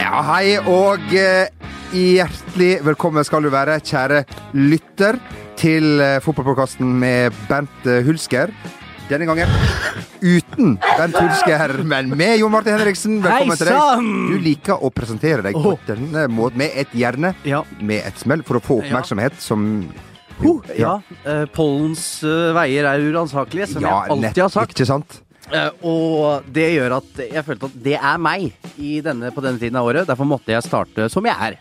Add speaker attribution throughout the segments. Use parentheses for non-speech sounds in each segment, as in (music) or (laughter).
Speaker 1: Ja, hei og eh, hjertelig velkommen skal du være, kjære lytter, til eh, fotballpodkasten med Bent eh, Hulsker. Denne gangen uten Bent Hulsker, men med Jon Martin Henriksen. Velkommen
Speaker 2: Hei
Speaker 1: til deg.
Speaker 2: sann!
Speaker 1: Du liker å presentere deg på
Speaker 2: Åh.
Speaker 1: denne måten, med et hjerne,
Speaker 2: Ja.
Speaker 1: med et smell, for å få
Speaker 2: Ja.
Speaker 1: oppmerksomhet som
Speaker 2: Ho, ja. eh, pollens eh, veier er uransakelige, som jeg alltid
Speaker 1: nett-
Speaker 2: har sagt.
Speaker 1: Ikke sant?
Speaker 2: Eh, og det gjør at jeg følte at det er meg i denne, på denne tiden av året. Derfor måtte jeg starte som jeg er.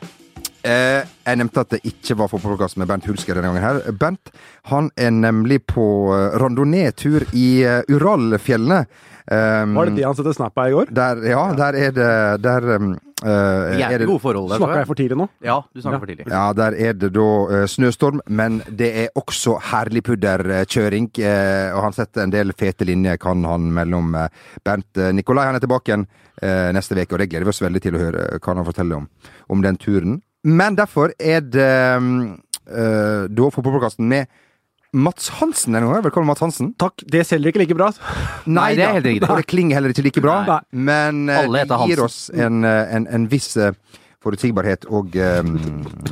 Speaker 1: Eh, jeg nevnte at det ikke var fotballpodkast med Bent Hulsker denne gangen. her. Bent han er nemlig på eh, randonee-tur i eh, Uralfjellene. Eh,
Speaker 3: Var det de han sendte snap av i går?
Speaker 1: Der, ja, der er det Der um, eh, er
Speaker 2: Jævlig
Speaker 1: det
Speaker 2: gode forhold der.
Speaker 3: Snakka
Speaker 2: tror
Speaker 3: jeg for tidlig nå?
Speaker 2: Ja, du snakker
Speaker 3: Ja.
Speaker 2: for
Speaker 1: (laughs)
Speaker 2: tidlig.
Speaker 1: ja, der er det da eh, snøstorm, men det er også herlig pudderkjøring. eh, og han setter en del fete linjer, kan han, mellom eh, Bernt eh, Nikolai. Han er tilbake igjen eh, neste uke, og det gleder vi oss veldig til å høre eh, hva han forteller om, om den turen. Men derfor er det um, eh, da fotballpodkasten med Mats Hansen denne gangen. Velkommen, Mats Hansen.
Speaker 3: Takk, det selger ikke like bra.
Speaker 1: Nei,
Speaker 2: Nei, det er
Speaker 1: da.
Speaker 2: helt riktig.
Speaker 1: Og det klinger heller ikke like bra.
Speaker 3: Nei.
Speaker 1: Men eh,
Speaker 2: Alle heter
Speaker 1: det gir
Speaker 2: Hansen.
Speaker 1: oss en, eh, en, en viss eh, forutsigbarhet og,
Speaker 2: (laughs)
Speaker 1: eh,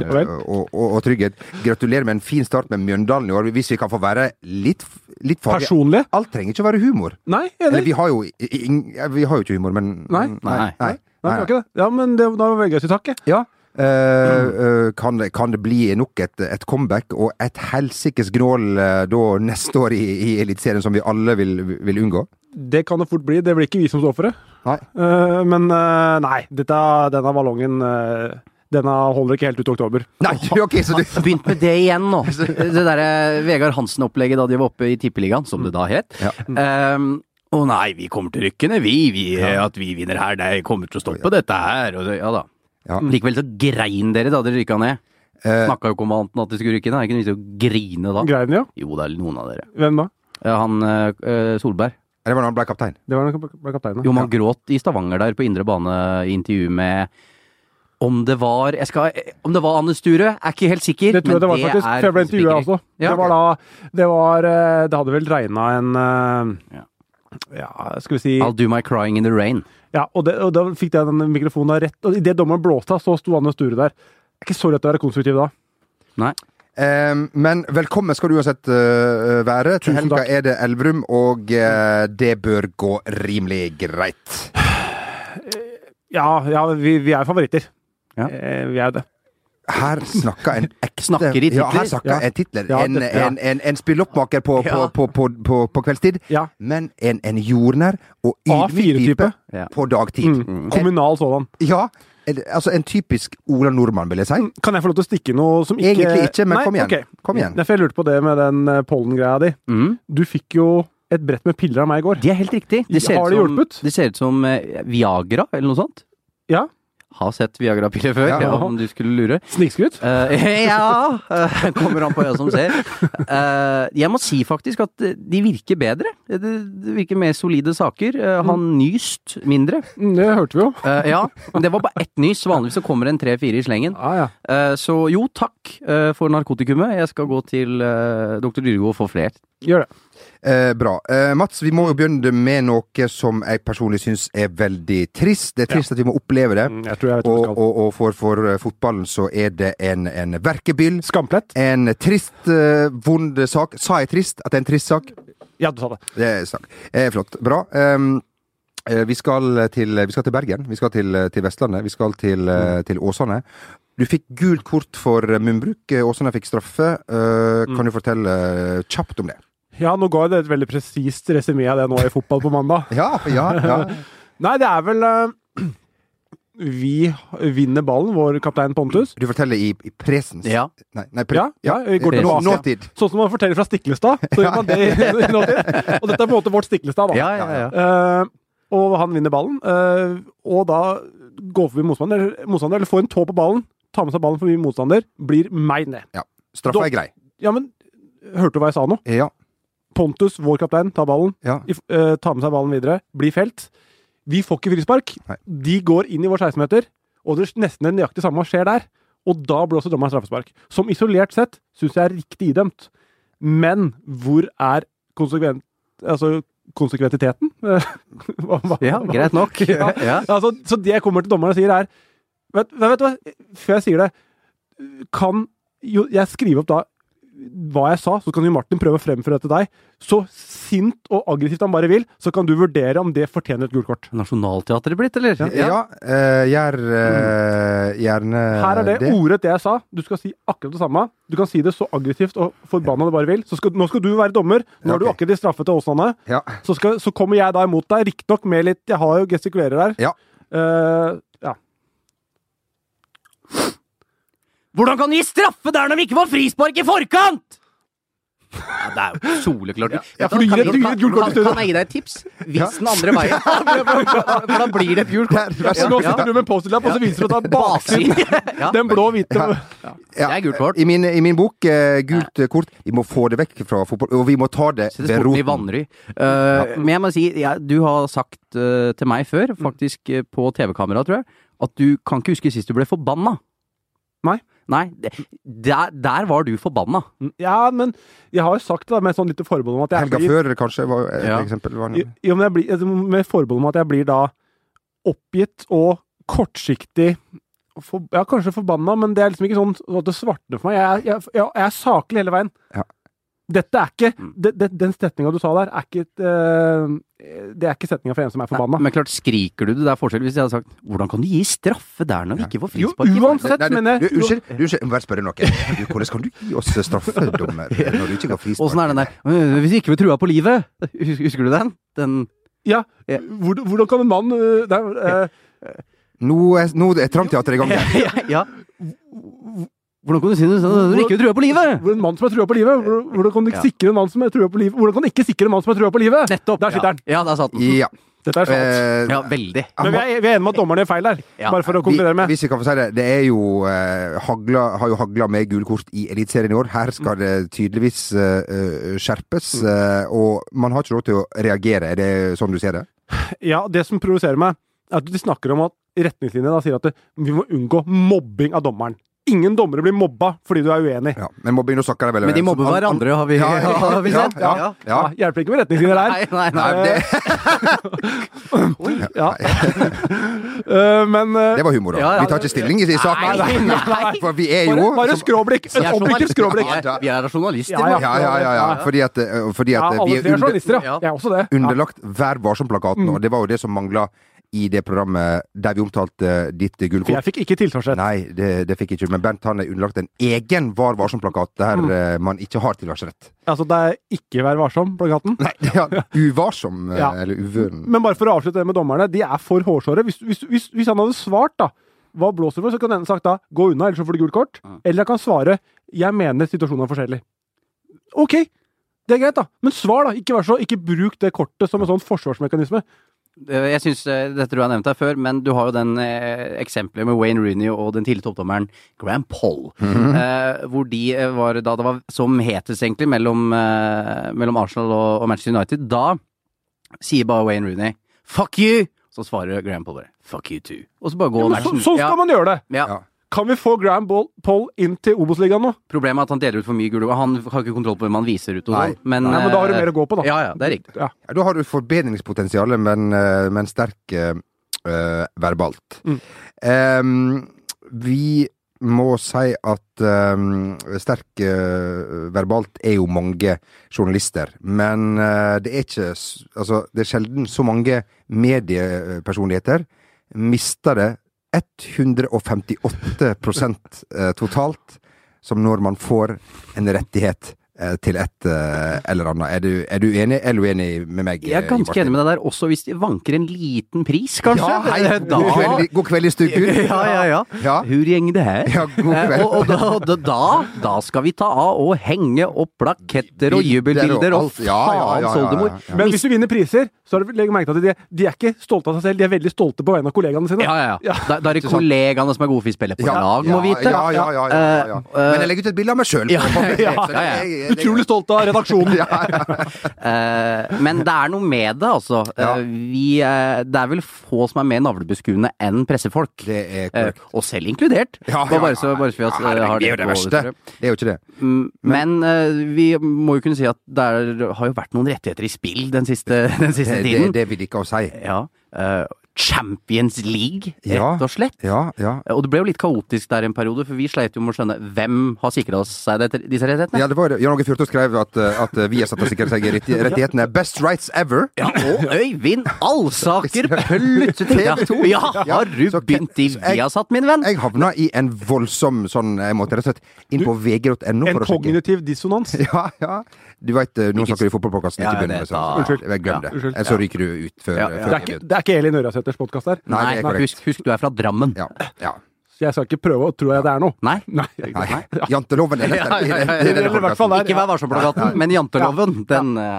Speaker 3: Ja vel.
Speaker 1: og, og, og trygghet. Gratulerer med en fin start med Mjøndalen i år. Hvis vi kan få være litt, litt faglige.
Speaker 3: Personlig?
Speaker 1: Alt trenger ikke å være humor.
Speaker 3: Nei,
Speaker 1: Eller,
Speaker 3: enig.
Speaker 1: vi har jo, i- i- ja, vi har jo ikke humor, men
Speaker 3: Nei.
Speaker 2: Nei.
Speaker 1: nei.
Speaker 3: Nei, det var ikke det. Ja, men det da var det gøy til takke.
Speaker 1: Ja. Eh,
Speaker 2: Mm.
Speaker 1: eh, kan, det, kan det bli nok et, et comeback og et helsikes gnål eh, da neste år i, i Eliteserien, som vi alle vil, vil unngå?
Speaker 3: Det kan det fort bli. Det blir ikke vi som står for det.
Speaker 1: Nei.
Speaker 3: Eh, men eh, nei, dette, denne ballongen eh, Denne holder ikke helt ut i oktober.
Speaker 1: Nei, (laughs) ok, så du,
Speaker 2: Begynt med det igjen nå. Det derre Vegard Hansen-opplegget da de var oppe i Tippeligaen, som det da het.
Speaker 1: Ja.
Speaker 2: Ehm, Å nei, vi kommer til rykkene, vi. vi At vi vinner her, det kommer til å stoppe dette her. Og, så- ja da.
Speaker 1: Ja.
Speaker 2: Likevel så grein dere da dere rykka ned.
Speaker 1: Eh.
Speaker 2: Snakka jo ikke om annet enn at de skulle rykke ned. Er ikke noe vits i å grine da?
Speaker 3: Grein, ja.
Speaker 2: Jo, det er noen av dere.
Speaker 3: Hvem da?
Speaker 2: Ja, han eh, Solberg.
Speaker 1: Det var da han ble kaptein.
Speaker 3: Det var den kap- kapteinen.
Speaker 2: Jo, man gråt i Stavanger der på indre bane i intervju med om det var jeg skal, eh, Om det var Anne Sture, er ikke helt sikker.
Speaker 3: Det tror jeg det var,
Speaker 2: men
Speaker 3: faktisk.
Speaker 2: er
Speaker 3: For jeg ble intervjua
Speaker 2: spikkeri.
Speaker 3: også.
Speaker 2: Ja,
Speaker 3: Det var da Det var eh, Det hadde vel regna en eh, ja, skal vi si
Speaker 2: I'll do my crying in the rain.
Speaker 3: Ja, og, det, og da fikk jeg den mikrofonen da rett. Og idet dommeren blåste av, så sto Anne Sture der. Det er ikke så lett å være konstruktiv da.
Speaker 2: Nei.
Speaker 1: Ehm, men velkommen skal du uansett øh, være. Til
Speaker 3: Tusen
Speaker 1: helga
Speaker 3: takk.
Speaker 1: er det Elverum, og øh, det bør gå rimelig greit.
Speaker 3: Ja, ja vi, vi er favoritter.
Speaker 2: Ja.
Speaker 3: Eh, vi er det.
Speaker 1: Her snakker en ekte
Speaker 2: Snakker i titler.
Speaker 1: Ja, her snakker
Speaker 3: Ja.
Speaker 1: en titler.
Speaker 3: Ja,
Speaker 1: en,
Speaker 3: det- ja.
Speaker 1: en, en, en spilloppmaker på,
Speaker 2: Ja.
Speaker 1: på, på, på, på, på kveldstid,
Speaker 3: Ja.
Speaker 1: men en, en jordnær og ydmyk
Speaker 3: A4-type.
Speaker 1: type
Speaker 2: Ja.
Speaker 1: på dagtid.
Speaker 3: Mm. Kommunal sådan.
Speaker 1: Ja, en, altså en typisk Ola Nordmann, vil jeg si.
Speaker 3: Kan jeg få lov til å stikke noe som Mm, ikke
Speaker 1: Egentlig ikke, men
Speaker 3: Nei,
Speaker 1: kom igjen.
Speaker 3: ok.
Speaker 1: Kom igjen.
Speaker 3: Derfor jeg lurte på det med den eh, pollengreia di.
Speaker 2: Mm.
Speaker 3: Du fikk jo et brett med piller av meg i går.
Speaker 2: Det er helt riktig. Det ser
Speaker 3: Har
Speaker 2: ut
Speaker 3: det
Speaker 2: som,
Speaker 3: hjulpet?
Speaker 2: det ser ut som eh, Viagra, eller noe sånt.
Speaker 3: Ja.
Speaker 2: Har sett Viagra-piller før,
Speaker 1: Ja.
Speaker 2: om du skulle lure.
Speaker 3: Snikskryt.
Speaker 2: Eh, (laughs) ja! eh, kommer an på øya som ser. Eh, jeg må si faktisk at eh, de virker bedre. Det, det virker mer solide saker. Eh, han nyst mindre.
Speaker 3: Mm, Det hørte vi jo.
Speaker 2: Eh, ja, men det var bare ett nys. Vanligvis så kommer det en tre-fire i slengen.
Speaker 3: Ah, Ja, ja.
Speaker 2: Eh, så jo, takk eh, for narkotikumet. Jeg skal gå til eh, dr. Dyregod og få flere.
Speaker 3: Gjør det.
Speaker 1: Eh, bra. Eh, Mats, vi må jo begynne med noe som jeg personlig syns er veldig trist. Det er trist at vi må oppleve det.
Speaker 3: Mm, Jeg tror jeg vet hva
Speaker 1: Og,
Speaker 3: du skal.
Speaker 1: og, og for, for eh, fotballen så er det en, en verkebyll.
Speaker 3: Skamplett?
Speaker 1: En trist, eh, vond sak. Sa jeg trist? At det er en trist sak?
Speaker 3: Ja, du sa det.
Speaker 1: Det er sak. Eh, flott. Bra. Ehm, eh, vi, skal til, vi skal til Bergen. Vi skal til, eh, til Vestlandet. Vi skal til, eh,
Speaker 3: Mm.
Speaker 1: til Åsane. Du fikk gult kort for eh, munnbruk. Eh, Åsane fikk straffe. Eh,
Speaker 3: Mm.
Speaker 1: Kan du fortelle eh, kjapt om det?
Speaker 3: Ja, nå ga jeg det et veldig presist resymé av det nå i fotball på mandag.
Speaker 1: Ja, ja, ja.
Speaker 3: Nei, det er vel eh, (clears throat) Vi vinner ballen, vår kaptein Pontus.
Speaker 1: Du forteller i, i presens.
Speaker 2: Ja.
Speaker 1: Nei, nei pre Eh,
Speaker 3: Ja, ja, vi går
Speaker 1: Nå,
Speaker 3: tilbake.
Speaker 1: nåtid.
Speaker 3: Sånn som man forteller fra Stiklestad. Så gjør man det i nåtid. Og dette er på en måte vårt Stiklestad, da.
Speaker 2: Ja, ja, ja.
Speaker 3: Eh, og han vinner ballen. eh, og da går forbi motstander, motstander, eller får en tå på ballen, tar med seg ballen forbi motstander, blir meg ned.
Speaker 1: Straffa er grei.
Speaker 3: Ja, men hørte du hva jeg sa nå?
Speaker 1: Ja.
Speaker 3: Pontus, vår kaptein, tar ballen.
Speaker 1: ja.
Speaker 3: i- eh, tar med seg ballen videre, blir felt. Vi får ikke frispark.
Speaker 1: Nei.
Speaker 3: De går inn i vår 16-meter, og det er nesten det nøyaktig samme skjer der. Og da blåser dommeren straffespark. Som isolert sett syns jeg er riktig idømt. Men hvor er konsekvent, altså, konsekventiteten? (laughs) Hva- hva-
Speaker 2: Ja, greit nok.
Speaker 3: Ja.
Speaker 2: (laughs) Ja.
Speaker 3: Altså, så det jeg kommer til dommeren og sier, er Vet, vet vet du hva, før jeg sier det, kan jo jeg skrive opp da hva jeg sa, så kan jo Martin prøve å fremføre det til deg. Så sint og aggressivt han bare vil, så kan du vurdere om det fortjener et gult kort.
Speaker 2: Nationaltheatret blitt, eller?
Speaker 1: Ja, eh, gjør eh, gjerne
Speaker 3: Her er det, ordet det jeg sa. Du skal si akkurat det samme. Du kan si det så aggressivt og forbanna du bare vil. Så skal, nå skal du være dommer. Nå
Speaker 1: Ja,
Speaker 3: har du
Speaker 1: ok.
Speaker 3: akkurat de straffete åsene.
Speaker 1: Ja.
Speaker 3: Så, skal, så kommer jeg da imot deg, riktignok med litt Jeg har jo gestikulerer her.
Speaker 1: Ja.
Speaker 3: Eh, ja.
Speaker 2: Hvordan kan du gi straffe der når vi ikke får frispark i forkant?! Ja, det er jo soleklart.
Speaker 3: Ja, for du gir et- du gir et gult kort i
Speaker 2: Kan,
Speaker 3: stedet.
Speaker 2: kan jeg gi deg et tips? Vis den andre
Speaker 3: (laughs)
Speaker 2: veien. For da blir det et gult kort.
Speaker 1: Der, vær så
Speaker 3: Nå
Speaker 1: god.
Speaker 2: Ja.
Speaker 3: sitter du med en Post-It-lapp, og så viser du at det er baksiden.
Speaker 2: Baksiden. Ja.
Speaker 3: Den blå-hvite.
Speaker 1: Ja. Ja.
Speaker 2: Det er gult kort.
Speaker 1: I min, i min bok, eh, gult eh, kort Vi må få det vekk fra fotball, og vi må ta det
Speaker 2: Settes
Speaker 1: ved
Speaker 2: bort i
Speaker 1: roten.
Speaker 2: vanry. Eh, Men jeg må si, jeg- du har sagt eh, til meg før,
Speaker 3: Mm.
Speaker 2: faktisk eh, på TV-kamera, tror jeg, at du kan ikke huske sist du ble forbanna.
Speaker 3: Nei.
Speaker 2: Nei, det- der, der var du forbanna.
Speaker 3: Ja, men jeg har jo sagt det da, med sånn lite forbehold om at jeg
Speaker 1: Helga
Speaker 3: blir
Speaker 1: før, kanskje, var et
Speaker 2: Ja.
Speaker 1: eksempel. Var
Speaker 3: Jo, jo, men jeg blir, altså, med forbehold om at jeg blir da oppgitt og kortsiktig for, Ja, kanskje forbanna, men det er liksom ikke sånn at det svartner for meg. Jeg, er- jeg, jeg, jeg er saklig hele veien.
Speaker 1: Ja.
Speaker 3: Dette er ikke
Speaker 2: Mm.
Speaker 3: det, det, Den setninga du sa der, er ikke et, eh, Det er ikke setninga for en som er forbanna.
Speaker 2: Men klart skriker du det. Det er forskjell hvis jeg hadde sagt 'Hvordan kan du gi straffe der når vi ikke får
Speaker 3: Jo,
Speaker 2: frispark?' i verden?»
Speaker 3: uansett,
Speaker 1: Nei, du,
Speaker 3: mener jeg.
Speaker 1: du, Unnskyld, du, unnskyld, jeg må bare spørre om noe. Du, Hvordan kan du gi oss
Speaker 2: (laughs)
Speaker 1: straffedommer når du ikke ga
Speaker 2: Åssen
Speaker 1: frispark?
Speaker 2: er den der «Øh, 'Hvis ikke vi trua på livet'? Hus- Husker du den? Den
Speaker 3: Ja,
Speaker 2: Ja.
Speaker 3: hvor- Hvordan kan en mann eh, nei, eh,
Speaker 1: Nå er, nå er Tramteatret i gang igjen.
Speaker 2: (laughs) Ja. Hvordan kan du si det sånn når du ikke trua på livet?
Speaker 3: hvor en mann som er trua på livet hvor- Hvordan kan du ikke
Speaker 2: Ja.
Speaker 3: sikre en mann som er trua på livet Hvordan kan du ikke sikre en mann som er trua på livet?
Speaker 2: Nettopp!
Speaker 3: Der sitter
Speaker 2: ja.
Speaker 3: den.
Speaker 2: Ja, der satt den.
Speaker 1: Ja.
Speaker 3: Dette er
Speaker 1: eh,
Speaker 3: sant.
Speaker 2: Ja, veldig.
Speaker 1: han
Speaker 3: Men vi
Speaker 1: må-
Speaker 3: er, vi er enige om at dommeren gjør feil der.
Speaker 2: Ja.
Speaker 3: Bare for å
Speaker 1: vi,
Speaker 3: konkludere med.
Speaker 1: hvis vi kan få si det, det er jo eh, hagla, har jo hagla med gule kort i Eliteserien i år. Her
Speaker 3: Mm.
Speaker 1: skal det tydeligvis eh, eh, skjerpes, eh, og man har ikke lov til å reagere. Er det sånn du ser det?
Speaker 3: Ja, det som provoserer meg, er at de snakker om at retningslinjene da sier at det, vi må unngå mobbing av dommeren. Ingen dommere blir mobba fordi du er uenig.
Speaker 1: Ja, men mobber nå snakker de vel
Speaker 2: Men de mobber
Speaker 1: Han- han-
Speaker 2: hverandre, har vi,
Speaker 1: Ja, ja,
Speaker 2: har vi
Speaker 1: ja,
Speaker 2: sett.
Speaker 1: ja,
Speaker 2: Ja.
Speaker 1: ja.
Speaker 3: Ja, Ah, hjelper ikke med retningslinjer
Speaker 2: Nei,
Speaker 3: her.
Speaker 2: nei, nei.
Speaker 1: Nei, det,
Speaker 3: (laughs) Ja. (laughs) Eh, Men eh,
Speaker 1: det var humor, da.
Speaker 2: Ja, ja.
Speaker 1: Vi tar ikke stilling i, i saken.
Speaker 2: Nei, nei.
Speaker 1: For vi er
Speaker 3: bare,
Speaker 1: jo
Speaker 3: bare skråblikk!
Speaker 2: Vi
Speaker 3: Et
Speaker 2: er
Speaker 3: objektivt skråblikk.
Speaker 1: Ja, da.
Speaker 2: journalister. Vi er journalister.
Speaker 3: Ja,
Speaker 1: Ja, ja, ja. ja. Fordi at, eh, fordi
Speaker 3: Ja,
Speaker 1: at eh, vi
Speaker 3: alle
Speaker 1: er
Speaker 3: tre er
Speaker 1: under,
Speaker 3: journalister, ja.
Speaker 2: Ja.
Speaker 3: Jeg er også det. Ja. Mm.
Speaker 1: underlagt Vær varsom-plakaten, og det var jo det som mangla i det programmet der vi omtalte eh, ditt gule
Speaker 3: For
Speaker 1: kort.
Speaker 3: jeg fikk ikke tiltaksrett.
Speaker 1: Nei, det, det fikk jeg ikke. Men Bernt han er underlagt en egen Var varsom-plakat der eh, man ikke har tilværsrett.
Speaker 3: Altså, det er ikke Vær varsom-plakaten.
Speaker 1: Nei, (laughs) ja, uvarsom, eh,
Speaker 3: Ja.
Speaker 1: eller uvøren.
Speaker 3: Men bare for å avslutte det med dommerne. De er for hårsåre. Hvis, hvis, hvis, hvis han hadde svart da, hva blåser det for, så kan den sagt da gå unna, ellers så får du gult kort.
Speaker 2: Mm.
Speaker 3: Eller jeg kan svare jeg mener situasjonen er forskjellig. Ok, det er greit, da. Men svar, da. Ikke, vær så, ikke bruk det kortet som en sånn forsvarsmekanisme.
Speaker 2: Eh, Jeg synes, eh, Dette tror jeg har nevnt deg før, men du har jo den eh, eksempelet med Wayne Rooney og den tidligere toppdommeren Graham Poll.
Speaker 1: Mhm.
Speaker 2: eh, hvor de eh, var da det var som hetest, egentlig, mellom, eh, mellom Arsenal og, og Manchester United. Da sier bare Wayne Rooney 'fuck you', så svarer Graham Poll bare 'fuck you too'. Og så bare går
Speaker 3: Men så,
Speaker 2: matchen.
Speaker 3: sånn skal
Speaker 2: ja,
Speaker 3: man gjøre det!
Speaker 2: ja.
Speaker 1: Ja.
Speaker 3: Kan vi få Graham Ball- Poll inn til Obos-ligaen nå?
Speaker 2: Problemet er at han deler ut for mye gule kort. Han har ikke kontroll på hvem han viser ut. Og
Speaker 1: Nei.
Speaker 2: sånn, men,
Speaker 3: Nei, men da har du
Speaker 2: eh,
Speaker 3: mer å gå på, da.
Speaker 2: Ja, ja, det er riktig.
Speaker 3: Ja.
Speaker 1: Ja, da har du forbedringspotensialet, men, eh, men sterk eh, eh, verbalt.
Speaker 3: Mm.
Speaker 1: Ehm, vi må si at eh, sterk eh, verbalt er jo mange journalister, men eh, det er ikke s- Altså, det er sjelden så mange mediepersonligheter mister det 158 eh, totalt som når man får en rettighet eh, til et eh, eller annet. Er du, er du enig eller uenig med meg? eh,
Speaker 2: Jeg er ganske enig med deg der, også hvis de vanker en liten pris, kanskje.
Speaker 1: Ja, hei,
Speaker 2: (laughs) da...
Speaker 1: god kveld, i- god kveld i stugu.
Speaker 2: Ja, ja, ja.
Speaker 1: Ja.
Speaker 2: Hvor gjeng det her?
Speaker 1: ja, god
Speaker 2: Eh,
Speaker 1: kveld.
Speaker 2: og og, da, og da- da, da skal vi ta av og henge opp plaketter
Speaker 1: Bilder
Speaker 2: og
Speaker 1: og
Speaker 2: jubelbilder og
Speaker 1: alt. Ja, ja, ja, ja,
Speaker 2: faens
Speaker 1: ja,
Speaker 2: oldemor.
Speaker 1: ja.
Speaker 3: Men hvis du vinner priser, så har du legg merke til at de, de er ikke stolte av seg selv, de er veldig stolte på vegne av kollegaene sine.
Speaker 2: Ja, ja, ja.
Speaker 3: Ja.
Speaker 2: Da, da er det kollegaene som er gode for å spille på lag, må vite.
Speaker 1: Ja, ja, ja, ja, ja, ja.
Speaker 2: Eh,
Speaker 1: Men jeg legger ut et bilde av meg sjøl.
Speaker 2: Ja, ja, ja,
Speaker 3: Utrolig stolt av redaksjonen!
Speaker 1: (laughs) Ja, ja.
Speaker 2: Eh, men det er noe med det, altså.
Speaker 1: Ja.
Speaker 2: Eh, vi, eh, det er vel få som er mer navlebeskuende enn pressefolk.
Speaker 1: Det er
Speaker 2: Eh,
Speaker 1: korrekt.
Speaker 2: og selv inkludert.
Speaker 1: Ja,
Speaker 2: Bare-
Speaker 1: ja,
Speaker 2: bare så,
Speaker 1: ja.
Speaker 2: bare så vi at,
Speaker 1: Ja, herregud,
Speaker 2: eh, har
Speaker 1: det er jo det
Speaker 2: på
Speaker 1: verste.
Speaker 2: trykk.
Speaker 1: Det er jo ikke det.
Speaker 2: Mm, Men eh, vi må jo kunne si at det er- har jo vært noen rettigheter i spill den siste, den siste
Speaker 1: Det, det,
Speaker 2: tiden.
Speaker 1: det vil ikke å si.
Speaker 2: Ja. eh, Champions League,
Speaker 1: Ja.
Speaker 2: rett og slett. Eh,
Speaker 1: Ja, ja.
Speaker 2: Og det ble jo litt kaotisk der en periode, for vi sleit jo med å skjønne hvem har sikra seg dette, disse rettighetene.
Speaker 1: Ja, det var det. Jan Åge Fjørtoft skrev at, eh, at vi har satt og sikret seg i retti- rettighetene. Best rights ever!
Speaker 2: Og Øyvind Alsaker pluttet ja, ja, har du
Speaker 1: Så-
Speaker 2: begynt i
Speaker 1: så jeg-
Speaker 2: Viasat, min venn?
Speaker 1: Jeg havna i en voldsom sånn Jeg måtte rett og slett inn på vg.no
Speaker 3: En
Speaker 1: for å sjekke.
Speaker 3: kognitiv dissonans.
Speaker 1: (laughs) Ja, ja. Du veit, nå snakker du i fotballpodkasten,
Speaker 2: Ja,
Speaker 1: ikke begynn
Speaker 2: det
Speaker 1: med
Speaker 2: da-
Speaker 1: sånt. Unnskyld. Glem det.
Speaker 3: Unnskyld.
Speaker 1: Ellers så ryker du ut før,
Speaker 2: Ja, ja.
Speaker 1: før
Speaker 3: Det er ikke, det er ikke Elin Ørjasæters podkast der.
Speaker 1: Nei, det er korrekt.
Speaker 2: husk, husk, du er fra Drammen.
Speaker 1: Ja. ja.
Speaker 3: Så jeg skal ikke prøve å tro jeg det er noe.
Speaker 2: Nei?
Speaker 3: Nei. ikke sant.
Speaker 1: Nei. Janteloven er dette.
Speaker 2: Ja, ja, ja, ja.
Speaker 1: det er denne
Speaker 3: Eller i hvert
Speaker 1: podcasten.
Speaker 3: fall der.
Speaker 2: Ikke Vær varsom-plakaten, men janteloven. Den eh,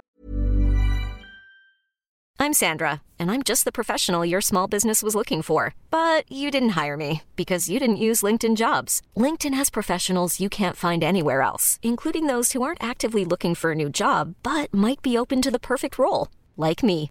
Speaker 4: I'm Sandra, and I'm just the professional your small business was looking for. But you didn't hire me because you didn't use LinkedIn jobs. LinkedIn has professionals you can't find anywhere else, including those who aren't actively looking for a new job but might be open to the perfect role, like me.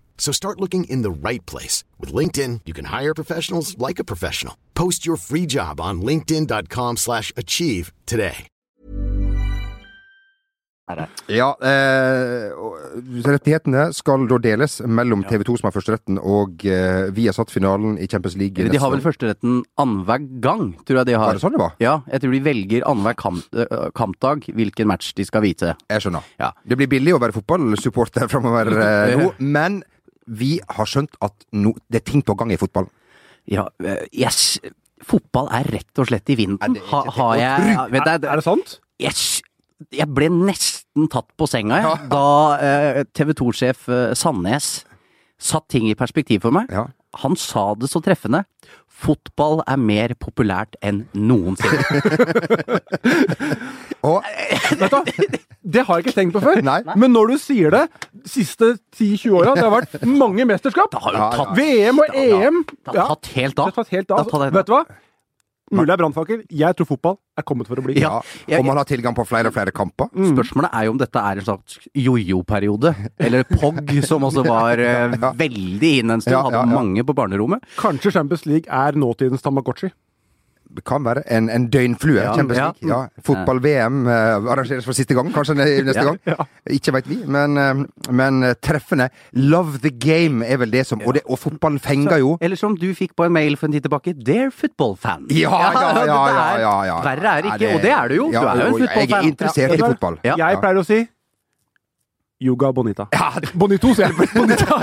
Speaker 5: So start looking in the right place. With LinkedIn, you can hire professionals like a professional. Post your free job on linkedin.com/achieve slash achieve today.
Speaker 2: er her.
Speaker 1: Ja, eh, og rettighetene skal da deles mellom TV 2, som har førsteretten, og eh, vi har satt finalen i Champions League.
Speaker 2: De
Speaker 1: neste
Speaker 2: har vel
Speaker 1: år.
Speaker 2: førsteretten annenhver gang, tror jeg de
Speaker 1: Var
Speaker 2: har.
Speaker 1: det sånn det var?
Speaker 2: Ja, jeg tror de velger annenhver kamp, eh, kampdag hvilken match de skal vite.
Speaker 1: Jeg skjønner.
Speaker 2: Ja.
Speaker 1: Det blir billig å være fotballsupporter (laughs) framover eh, nå, men vi har skjønt at no, det er ting på gang i fotballen.
Speaker 2: Ja, eh, yes. Fotball er rett og slett i vinden.
Speaker 1: det er
Speaker 2: Ha,
Speaker 1: ikke
Speaker 2: har
Speaker 1: til å
Speaker 2: jeg ja, vet
Speaker 3: Er,
Speaker 2: du,
Speaker 3: er det sant?
Speaker 1: sånn?
Speaker 2: Yes! Jeg ble nesten tatt på senga jeg, da TV 2-sjef Sandnes satt ting i perspektiv for meg.
Speaker 1: Ja.
Speaker 2: Han sa det så treffende. Fotball er mer populært enn noensinne.
Speaker 1: Og
Speaker 3: Vet du hva? Det har jeg ikke tenkt på før.
Speaker 1: Nei.
Speaker 3: Men når du sier det, siste 10-20 åra, det har vært mange mesterskap.
Speaker 2: har jo tatt-
Speaker 3: VM og
Speaker 2: det har-
Speaker 3: EM.
Speaker 2: det har tatt helt av.
Speaker 3: Det har tatt helt av.
Speaker 2: Det har tatt helt av.
Speaker 3: Vet du hva? Mulig det er brannfakkel. Jeg tror fotball er kommet for å bli.
Speaker 1: ja,
Speaker 2: Ja, jeg-
Speaker 1: og man har tilgang på flere og flere kamper.
Speaker 2: Spørsmålet er jo om dette er en slags jojo-periode. Eller POG, som også
Speaker 1: (laughs)
Speaker 2: var eh, veldig inne en stund.
Speaker 1: Ja, ja,
Speaker 2: Hadde
Speaker 1: ja.
Speaker 2: mange på barnerommet.
Speaker 3: Kanskje Champions League er nåtidens Tamagotchi.
Speaker 1: Det kan være en, en døgnflue.
Speaker 2: Ja.
Speaker 1: Champions
Speaker 2: Ja.
Speaker 1: League. Ja. Fotball-VM eh, arrangeres for siste gang, kanskje ne- neste gang. Ikke veit vi, men, eh, men eh, treffende. Love the game er vel det som Og, det, og fotball fenger jo.
Speaker 2: Eller som du fikk på en mail for en tid tilbake, Dear football fan.
Speaker 1: Ja,
Speaker 2: (laughs)
Speaker 1: ja, ja, ja, ja, ja.
Speaker 2: Verre er det
Speaker 1: Nei,
Speaker 2: ikke,
Speaker 1: det-
Speaker 2: og det er du jo.
Speaker 1: Ja,
Speaker 2: du er jo
Speaker 1: jo,
Speaker 2: en
Speaker 1: jeg er
Speaker 2: fotballfan.
Speaker 1: interessert i
Speaker 2: Ja.
Speaker 1: fotball.
Speaker 2: Ja.
Speaker 3: Jeg pleier å si Yoga bonita. Bonito, sier jeg. (laughs) Bonita.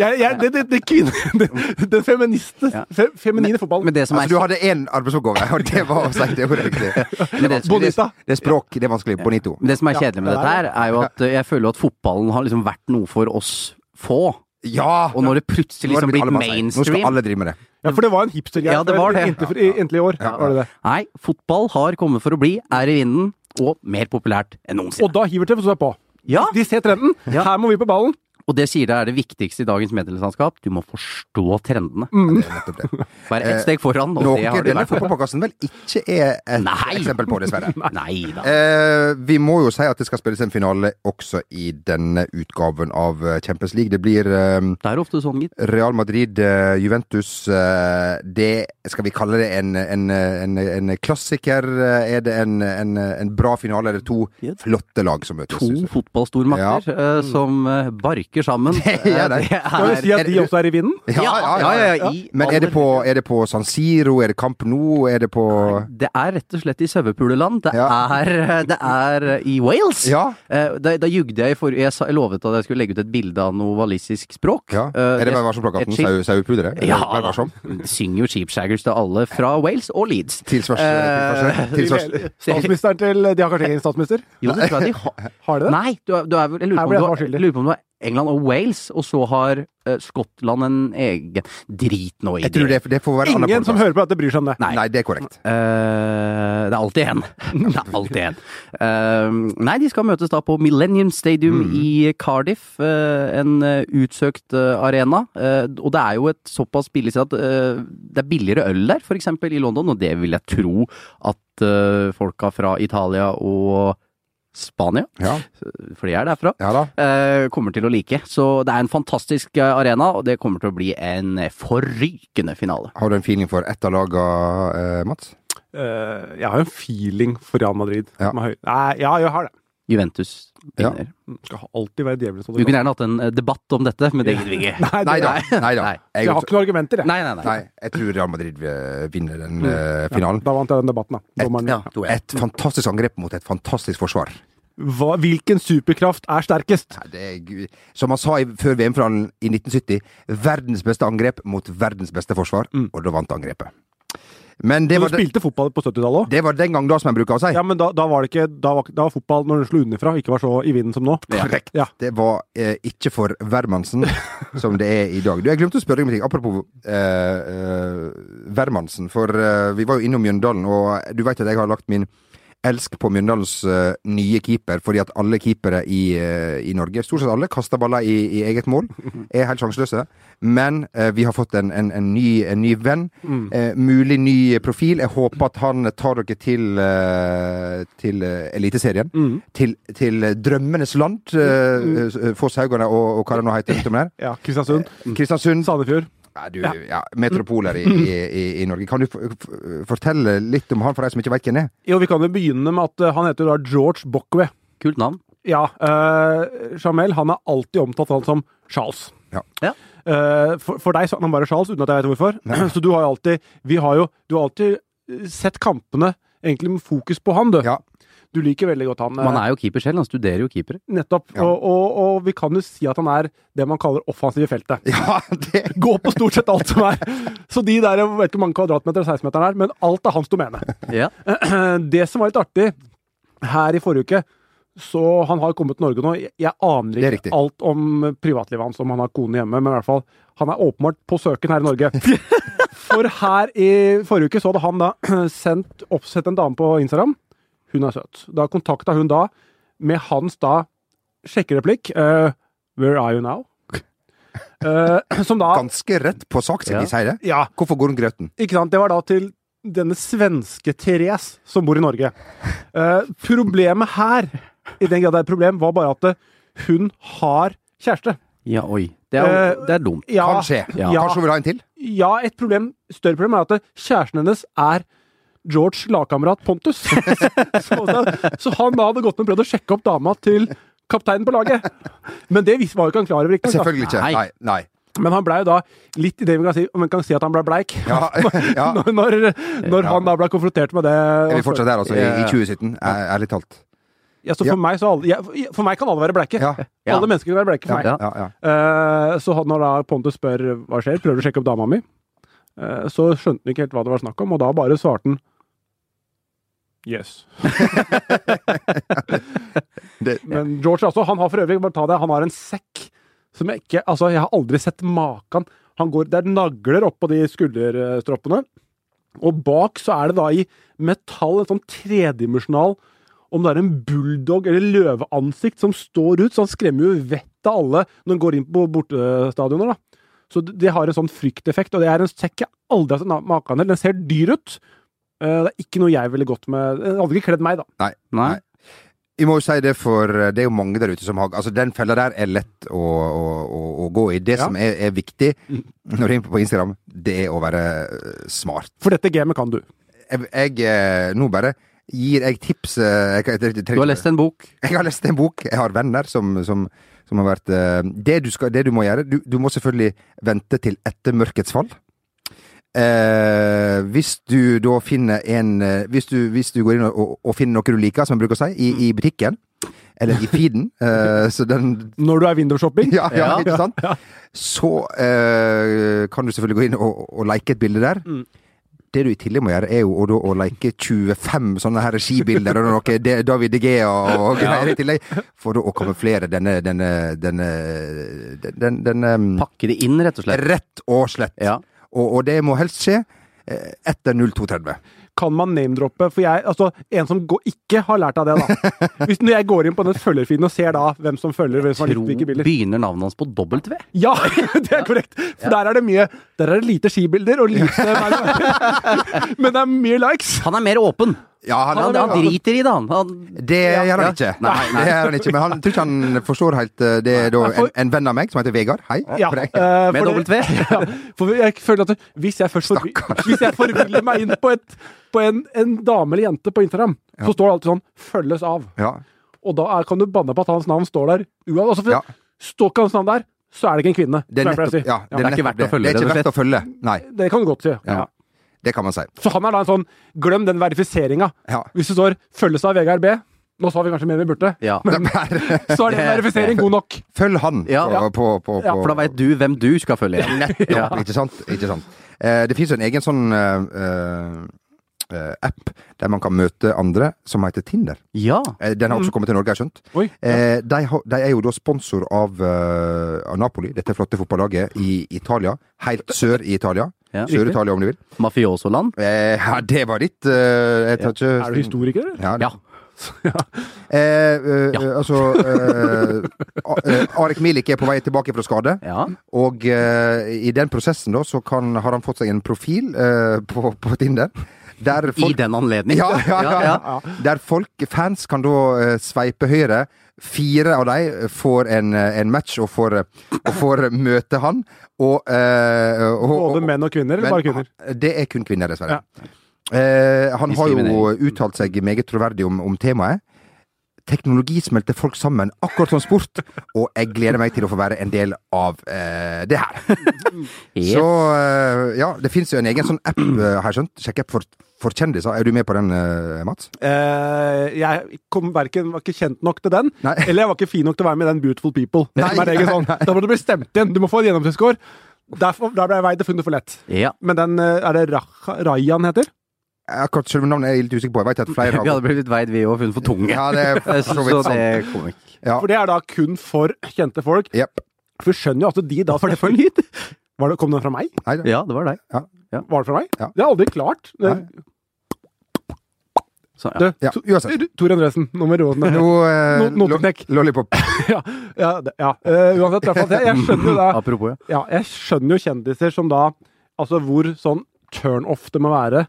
Speaker 3: Jeg, jeg, det, det, det kvinne... (laughs) det- Den feministe,
Speaker 2: Ja.
Speaker 3: fe, feminine fotballen.
Speaker 2: Men det som er
Speaker 1: Altså, du hadde én arbeidsoppgave, og det var å si det ordet
Speaker 2: (laughs)
Speaker 1: riktig.
Speaker 2: Men det,
Speaker 1: Det,
Speaker 3: Bonita.
Speaker 1: det er språk, det er vanskelig. Bonito.
Speaker 2: men det som er kjedelig med
Speaker 3: Ja, det
Speaker 2: dette her,
Speaker 3: er
Speaker 2: er jo at eh, jeg føler jo at fotballen har liksom vært noe for oss få.
Speaker 1: Ja!
Speaker 2: Og når det plutselig
Speaker 1: Nå er det
Speaker 2: liksom
Speaker 1: blitt
Speaker 2: blir
Speaker 1: alle masse. Nå skal
Speaker 2: mainstream
Speaker 1: alle drive med det.
Speaker 3: Ja, for det var en hipstergreie
Speaker 2: Ja, det
Speaker 3: før,
Speaker 2: var det.
Speaker 3: Inntil, i- inntil i år. Var det det.
Speaker 2: Nei, fotball har kommet for å bli, er i vinden, og mer populært enn noensinne.
Speaker 3: Og da hiver TV2 seg på.
Speaker 2: Ja.
Speaker 3: De ser trenden.
Speaker 2: Ja.
Speaker 3: Her må vi på ballen.
Speaker 2: Og det sier jeg er det viktigste i dagens medielandskap. Du må forstå trendene.
Speaker 1: Det er
Speaker 2: (laughs)
Speaker 1: nettopp det.
Speaker 2: Være ett
Speaker 1: Eh,
Speaker 2: steg foran, og
Speaker 1: Noe
Speaker 2: det har du
Speaker 1: denne
Speaker 2: vært.
Speaker 1: fotballpodkasten vel ikke er et
Speaker 2: Nei.
Speaker 1: eksempel på, dessverre.
Speaker 2: Nei da.
Speaker 1: Eh, vi må jo si at det skal spilles en finale også i denne utgaven av eh, Champions League. Det blir eh,
Speaker 2: Det er ofte sånn, gitt.
Speaker 1: Real Madrid, eh, Juventus eh, Det skal vi kalle det en, en, en, en klassiker? eh, Er det en, en, en bra finale? Er det to
Speaker 2: Ja.
Speaker 1: flotte lag som møtes?
Speaker 2: To
Speaker 1: synes jeg. Mm.
Speaker 2: fotballstormakter eh, som eh, barker sammen.
Speaker 1: (laughs) Ja, det-
Speaker 2: Eh,
Speaker 3: Skal vi si
Speaker 1: er
Speaker 3: at de
Speaker 1: det-
Speaker 3: også er i vinden?
Speaker 1: Ja, ja, ja, ja,
Speaker 2: i
Speaker 1: Men er det, på, er det på San Siro? Er det Camp Nou? Er det på
Speaker 2: Det er rett og slett i sauepuleland. Det,
Speaker 1: Ja.
Speaker 2: er- eh, det er i Wales.
Speaker 1: Ja.
Speaker 2: Eh, Da, da jugde jeg i forrige Jeg sa- jeg lovet at jeg skulle legge ut et bilde av noe walisisk språk.
Speaker 1: ja.
Speaker 2: Eh,
Speaker 1: Er det
Speaker 2: jeg-
Speaker 1: Vær varsom-plakaten?
Speaker 2: et
Speaker 1: Sau-
Speaker 2: skilt-
Speaker 1: Sauepudere?
Speaker 2: Ja.
Speaker 1: Vær varsom?
Speaker 2: Synger jo Sheepshaggers til alle fra Wales og Leeds.
Speaker 1: Tilsvars...
Speaker 2: Eh,
Speaker 1: tilsvars- tilsvars-
Speaker 2: (laughs)
Speaker 3: Statsministeren til De har kanskje egen statsminister?
Speaker 2: Jo, det tror jeg de har.
Speaker 3: Har de det?
Speaker 2: Nei, du er, du er, vel- jeg lurer
Speaker 3: Her
Speaker 2: på,
Speaker 3: ble
Speaker 2: om
Speaker 3: jeg
Speaker 2: du har,
Speaker 3: skyldig.
Speaker 2: lurer på om det var England og Wales, og så har eh, Skottland en egen Drit nå i
Speaker 1: Jeg tror det, det får være annen
Speaker 3: Ingen som
Speaker 1: podcast.
Speaker 3: hører på dette, bryr seg om det.
Speaker 2: Nei.
Speaker 1: Nei, det er korrekt.
Speaker 2: Eh, det er alltid en. Det er alltid en. Eh, nei, de skal møtes da på Millennium Stadium i Cardiff. eh, en eh, utsøkt eh, arena. Eh, og det er jo et såpass billig sted at eh, det er billigere øl der, f.eks. i London. Og det vil jeg tro at eh, folka fra Italia og Spania, eh,
Speaker 1: Ja,
Speaker 2: for de er derfra,
Speaker 1: ja da.
Speaker 2: eh, kommer til å like. Så det er en fantastisk eh, arena, og det kommer til å bli en eh, forrykende finale.
Speaker 1: Har du en feeling for ett av laga, eh, Mats?
Speaker 3: Eh, jeg har jo en feeling for Real Madrid.
Speaker 1: Ja.
Speaker 3: som er høy. Nei, ja, jeg har det.
Speaker 2: Juventus
Speaker 1: Ja.
Speaker 2: vinner.
Speaker 3: Mm, Skal alltid være djevelens
Speaker 2: Vi kunne
Speaker 3: advokat.
Speaker 2: gjerne hatt en eh, debatt om dette, men det gidder vi (laughs) ikke.
Speaker 3: Nei, det-
Speaker 1: Nei da. Nei da.
Speaker 2: Nei.
Speaker 1: Jeg,
Speaker 3: Jeg har ikke noen argumenter, jeg.
Speaker 2: Nei, nei, nei.
Speaker 1: Nei, jeg tror Real Madrid eh, vinner den eh, finalen.
Speaker 3: Mm. Da vant jeg den debatten, da. Dommeren.
Speaker 2: Ja, to, ja.
Speaker 1: Et fantastisk angrep mot et fantastisk forsvar.
Speaker 3: Hva, hvilken superkraft er sterkest?
Speaker 1: Nei, det er, gu- som han sa i, før VM-finalen i 1970, verdens beste angrep mot verdens beste forsvar, og da vant angrepet. Men det
Speaker 3: Du
Speaker 1: var, de,
Speaker 3: Mm. spilte fotball på 70-tallet òg?
Speaker 1: det var den gang da, som en bruker å si.
Speaker 3: Ja, men da, da var det ikke Da var, da var fotball, når den slo utenfra, ikke var så i vinden som nå.
Speaker 1: Korrekt.
Speaker 3: Ja.
Speaker 1: Det var eh, ikke for Wermansen som det er i dag. Du, jeg glemte å spørre deg om en ting. Apropos eh, eh, Wermansen, for eh, vi var jo innom Mjøndalen, og du vet at jeg har lagt min elsk på Mjøndalens eh, nye keeper, fordi at alle keepere i, eh, i Norge, stort sett alle, kaster baller i, i eget mål. Er helt sjanseløse. Men eh, vi har fått en, en, en, ny, en ny venn. Eh, mulig ny profil. Jeg håper at han tar dere til, eh, til eh, Eliteserien til, til drømmenes land. Uh, Fosshaugane og, og hva det nå heter. rundt om der.
Speaker 3: Ja, Kristiansund.
Speaker 1: Kristiansund.
Speaker 3: Sandefjord.
Speaker 1: Nei, du, ja, metropoler i, i, i, i Norge. Kan du f f fortelle litt om han for de som ikke veit hvem han er?
Speaker 3: Jo, vi kan jo begynne med at eh, han heter jo da George Bokwe.
Speaker 2: Kult navn.
Speaker 3: Ja, eh, Jamel han er alltid omtalt sånn som Charles.
Speaker 1: Ja.
Speaker 2: Ja.
Speaker 3: Eh, for, for deg så er han bare Charles, uten at jeg vet hvorfor. (clears throat) Så du har jo alltid Vi har jo Du har alltid eh, sett kampene egentlig med fokus på han, du.
Speaker 1: Ja. (laughs)
Speaker 3: Du liker veldig godt han. eh,
Speaker 2: Man er jo keeper selv, han studerer jo keepere.
Speaker 3: Nettopp.
Speaker 1: Ja.
Speaker 3: Og, og, og vi kan jo si at han er det man kaller offensiv i feltet.
Speaker 1: Ja, det
Speaker 3: (laughs) Gå på stort sett alt som er. Så de der, jeg vet ikke hvor mange kvadratmeter og 16-meteren er, men alt er
Speaker 1: (laughs)
Speaker 3: hans domene.
Speaker 2: Ja.
Speaker 3: (clears throat) Det som var litt artig her i forrige uke så han har kommet til Norge nå. Jeg- Jeg aner
Speaker 1: Det er
Speaker 3: ikke
Speaker 1: riktig.
Speaker 3: alt om privatlivet hans, om han har kone hjemme, men i hvert fall, han er åpenbart på søken her i Norge.
Speaker 1: (laughs)
Speaker 3: For her i forrige uke så hadde han da (clears throat) sendt, oppsett en dame på Instagram. Hun er søt. Da kontakta hun da med hans da sjekkereplikk eh, Where are
Speaker 1: (laughs)
Speaker 3: you now? Eh, som da
Speaker 1: ganske rett på sak, skal
Speaker 2: Ja.
Speaker 1: vi si det.
Speaker 3: Ja,
Speaker 1: Hvorfor går han grøten?
Speaker 3: ikke sant? Det var da til denne svenske Therese som bor i Norge. Eh, problemet her, i den grad det er et problem, var bare at eh, hun har kjæreste.
Speaker 2: ja, oi. Det er,
Speaker 3: Eh,
Speaker 2: det er dumt.
Speaker 3: Ja,
Speaker 1: Kan skje.
Speaker 2: Ja.
Speaker 1: Kanskje hun vil ha en til?
Speaker 3: ja, et problem, større problem er at eh, kjæresten hennes er George lagkamerat Pontus. (laughs) så, så han da hadde gått med og prøvd å sjekke opp dama til kapteinen på laget. Men det vis- var jo ikke han klar over. Ikke, sant?
Speaker 1: Selvfølgelig ikke.
Speaker 2: Altså, Nei.
Speaker 1: Nei. nei.
Speaker 3: Men han blei jo da litt i det vi kan si, om en kan si at han blei bleik.
Speaker 1: Ja, ja.
Speaker 3: (laughs)
Speaker 1: (laughs)
Speaker 3: Når, når, når han da blei konfrontert med det.
Speaker 1: Er vi fortsatt der, altså? I, i
Speaker 2: Ja.
Speaker 1: 2017? Æ- Ærlig talt.
Speaker 3: Ja, så
Speaker 1: Ja.
Speaker 3: for, meg så alle, jeg, for meg kan alle være bleike.
Speaker 1: Ja.
Speaker 2: Ja.
Speaker 3: Alle mennesker kan være bleike for meg.
Speaker 1: Ja, ja, ja.
Speaker 3: Eh, så han- når da Pontus spør hva skjer, prøver du å sjekke opp dama mi, Eh, så skjønte han ikke helt hva det var snakk om, og da bare svarte han Yes.
Speaker 1: Det,
Speaker 3: Men George altså, han har for øvrig, bare ta det, han har en sekk som jeg ikke Altså, jeg har aldri sett maken. Han går, det er nagler oppå de skulderstroppene, og bak så er det da i metall, en sånn tredimensjonal Om det er en bulldog eller løveansikt som står ut, så han skremmer jo vettet av alle når han går inn på bortestadioner. da. Så det- det har en sånn frykteffekt, og det er en sekk jeg aldri har sett maken til. Den ser dyr ut. Eh, Det er ikke noe jeg ville gått med. Den hadde ikke kledd meg, da.
Speaker 1: Nei.
Speaker 2: Nei.
Speaker 1: Jeg må jo si det, for eh, det er jo mange der ute som har Altså, den fella der er lett å, å, å, å gå i. Det
Speaker 3: Ja.
Speaker 1: som er, er viktig når du er inne på Instagram, det er å være eh, smart.
Speaker 3: For dette gamet kan du.
Speaker 1: Jeg, jeg eh, Nå bare gir jeg tips eh, jeg, jeg, jeg,
Speaker 2: Du har lest en bok.
Speaker 1: Jeg har lest en bok. Jeg har venner som, som, som har vært eh, det, du skal, det du må gjøre Du, du må selvfølgelig vente til etter mørkets fall. Eh, hvis du da finner en eh, Hvis du, hvis du går inn og, og, og finner noe du liker, som jeg bruker å si, i, i butikken, eller i feeden, eh, så den
Speaker 3: Når du er windowshopping.
Speaker 1: (laughs) ja, ja,
Speaker 2: Ja.
Speaker 1: ikke sant? Så eh, kan du selvfølgelig gå inn og, og like et bilde der.
Speaker 2: Mm.
Speaker 1: Det du i tillegg må gjøre, er jo å, da å like 25 sånne her skibilder og noe det- David De Gea og greier i tillegg, for da å kamuflere denne denne, denne, den, den, den, em,
Speaker 2: Pakke det inn, rett og slett.
Speaker 1: Rett og slett.
Speaker 2: Ja.
Speaker 1: Og, og det må helst skje eh, etter 02.30.
Speaker 3: Kan man name-droppe? For jeg, altså, en som går, ikke har lært av det, da.
Speaker 1: (laughs)
Speaker 3: Hvis når jeg går inn på den følgerfiden og ser da hvem som følger, hvem som har
Speaker 2: Tro
Speaker 3: likt hvilke bilder
Speaker 2: begynner navnet hans på dobbelt V.
Speaker 3: Ja, (laughs) det er korrekt! For der er det mye Der er det lite skibilder
Speaker 1: (laughs)
Speaker 3: og lite Men det er mye likes!
Speaker 2: Han er mer åpen.
Speaker 1: Ja, han,
Speaker 2: Han, han driter i det, han. han
Speaker 1: Det gjør han ikke.
Speaker 2: Nei, nei.
Speaker 1: Det gjør han ikke. Men han tror ikke han forstår helt eh, Det er da en, en venn av meg som heter Vegard. Hei.
Speaker 3: Ja,
Speaker 1: for deg.
Speaker 3: eh,
Speaker 2: Med
Speaker 3: for det-
Speaker 2: dobbelt V.
Speaker 3: Ja, for jeg føler at hvis jeg først forvi- hvis jeg forviller meg inn på, et, på en, en dame eller jente på Instagram, så står det alltid sånn 'følges av'.
Speaker 1: Ja.
Speaker 3: Og da er, kan du banne på at hans navn står der. Ua- Altså, for
Speaker 1: Ja.
Speaker 3: Står ikke hans navn der, så er det ikke en kvinne.
Speaker 1: Det er
Speaker 3: som jeg pleier å
Speaker 1: nettopp,
Speaker 3: si.
Speaker 1: ja,
Speaker 2: det er ikke
Speaker 1: nettopp
Speaker 2: verdt å følge,
Speaker 1: Det er ikke
Speaker 2: rett
Speaker 1: verdt å
Speaker 2: og
Speaker 1: følge. Nei,
Speaker 3: Det kan du godt si. Ja.
Speaker 1: Ja. det kan man si.
Speaker 3: Så han er da en sånn Glem den verifiseringa.
Speaker 1: Ja. (laughs)
Speaker 3: Hvis det står 'følges av Vegard B' Nå sa vi kanskje mer enn vi burde.
Speaker 2: Ja.
Speaker 1: Det er-
Speaker 3: Så er det en verifisering god nok.
Speaker 1: Følg han
Speaker 2: Ja.
Speaker 1: på, på, på, på
Speaker 3: Ja,
Speaker 2: For da veit du hvem du skal følge. Nettopp. Ja.
Speaker 1: Ikke sant? Ikke sant? Eh, det fins en egen sånn eh, eh, app der man kan møte andre, som heter Tinder.
Speaker 2: ja.
Speaker 1: Eh, Den har
Speaker 2: Mm.
Speaker 1: også kommet til Norge, har jeg skjønt.
Speaker 3: Oi.
Speaker 1: Eh, de, har- de er jo da sponsor av, eh, av Napoli, dette flotte fotballaget i Italia. Helt sør i Italia.
Speaker 2: Ja.
Speaker 1: Sør-Italia, om du vil.
Speaker 2: Mafiosoland.
Speaker 1: Eh, ja, det var ditt. eh, jeg tar ikke
Speaker 3: Er du historiker,
Speaker 1: Ja,
Speaker 3: eller?
Speaker 2: Ja.
Speaker 1: Eh, eh, eh, altså eh, A- eh, Arek Milik er på vei tilbake fra skade.
Speaker 2: ja.
Speaker 1: Og eh, i den prosessen da, så kan, har han fått seg en profil eh, på, på Tinder. Der
Speaker 2: I
Speaker 1: folk,
Speaker 2: den anledning.
Speaker 1: ja, ja, ja,
Speaker 2: ja.
Speaker 1: Der folk, fans, kan da eh, sveipe høyre. Fire av de får en, eh, en match og får, eh, og får møte han. Og, eh, og, og,
Speaker 3: Både menn og kvinner, eller
Speaker 1: men
Speaker 3: bare kvinner?
Speaker 1: han- Det er kun kvinner, dessverre. Eh, han har jo
Speaker 2: Diskriminering.
Speaker 1: uttalt seg meget troverdig om, om temaet. Teknologi smelter folk sammen, akkurat som sport, og jeg gleder meg til å få være en del av eh, det her.
Speaker 2: Yes.
Speaker 1: Så eh, ja, det fins jo en egen sånn app, eh, har jeg skjønt. Sjekk app for, for kjendiser. Er du med på den, eh, Mats?
Speaker 3: Eh, jeg kom hverken, var ikke kjent nok til den,
Speaker 1: Nei.
Speaker 3: eller jeg var ikke fin nok til å være med i den Beautiful People.
Speaker 1: Nei,
Speaker 3: som er det ikke sånn. Da må du bli stemt inn. Du må få en gjennomsnittsscore. Derfor, der ble jeg vei til funnet for lett.
Speaker 2: ja.
Speaker 3: Men den eh, Er det Raja, Rayan heter?
Speaker 1: Akkurat selve navnet er jeg litt usikker på. Jeg vet at
Speaker 2: Vi
Speaker 1: flere
Speaker 2: hadde
Speaker 1: har
Speaker 2: blitt litt veid, vi òg, funnet for tunge.
Speaker 1: Ja, det er
Speaker 2: (laughs)
Speaker 1: for så
Speaker 2: så,
Speaker 1: vidt
Speaker 2: det
Speaker 1: sant.
Speaker 2: kom ikke.
Speaker 1: Ja.
Speaker 3: For det er da kun for kjente folk.
Speaker 1: Jepp.
Speaker 3: For vi skjønner jo at de da
Speaker 2: Var det for lyd?
Speaker 3: Var det, Kom den fra meg?
Speaker 1: Nei, det-
Speaker 2: Ja, det var deg.
Speaker 3: Var det fra meg?
Speaker 1: Ja.
Speaker 3: Det har jeg aldri klart. Det-
Speaker 1: Nei.
Speaker 2: Så, ja.
Speaker 3: Du,
Speaker 1: Ja, uansett.
Speaker 3: du, Tor Endresen, nå må vi roe oss
Speaker 1: (laughs)
Speaker 3: ned.
Speaker 1: Jo, eh,
Speaker 3: No- noteknekk.
Speaker 1: lo- Lollipop.
Speaker 3: Ja, ja, det- ja. Eh, uansett, i hvert fall, jeg, jeg skjønner jo da
Speaker 2: Apropos, ja.
Speaker 3: ja, jeg skjønner jo kjendiser som da Altså hvor sånn turn-off det må være,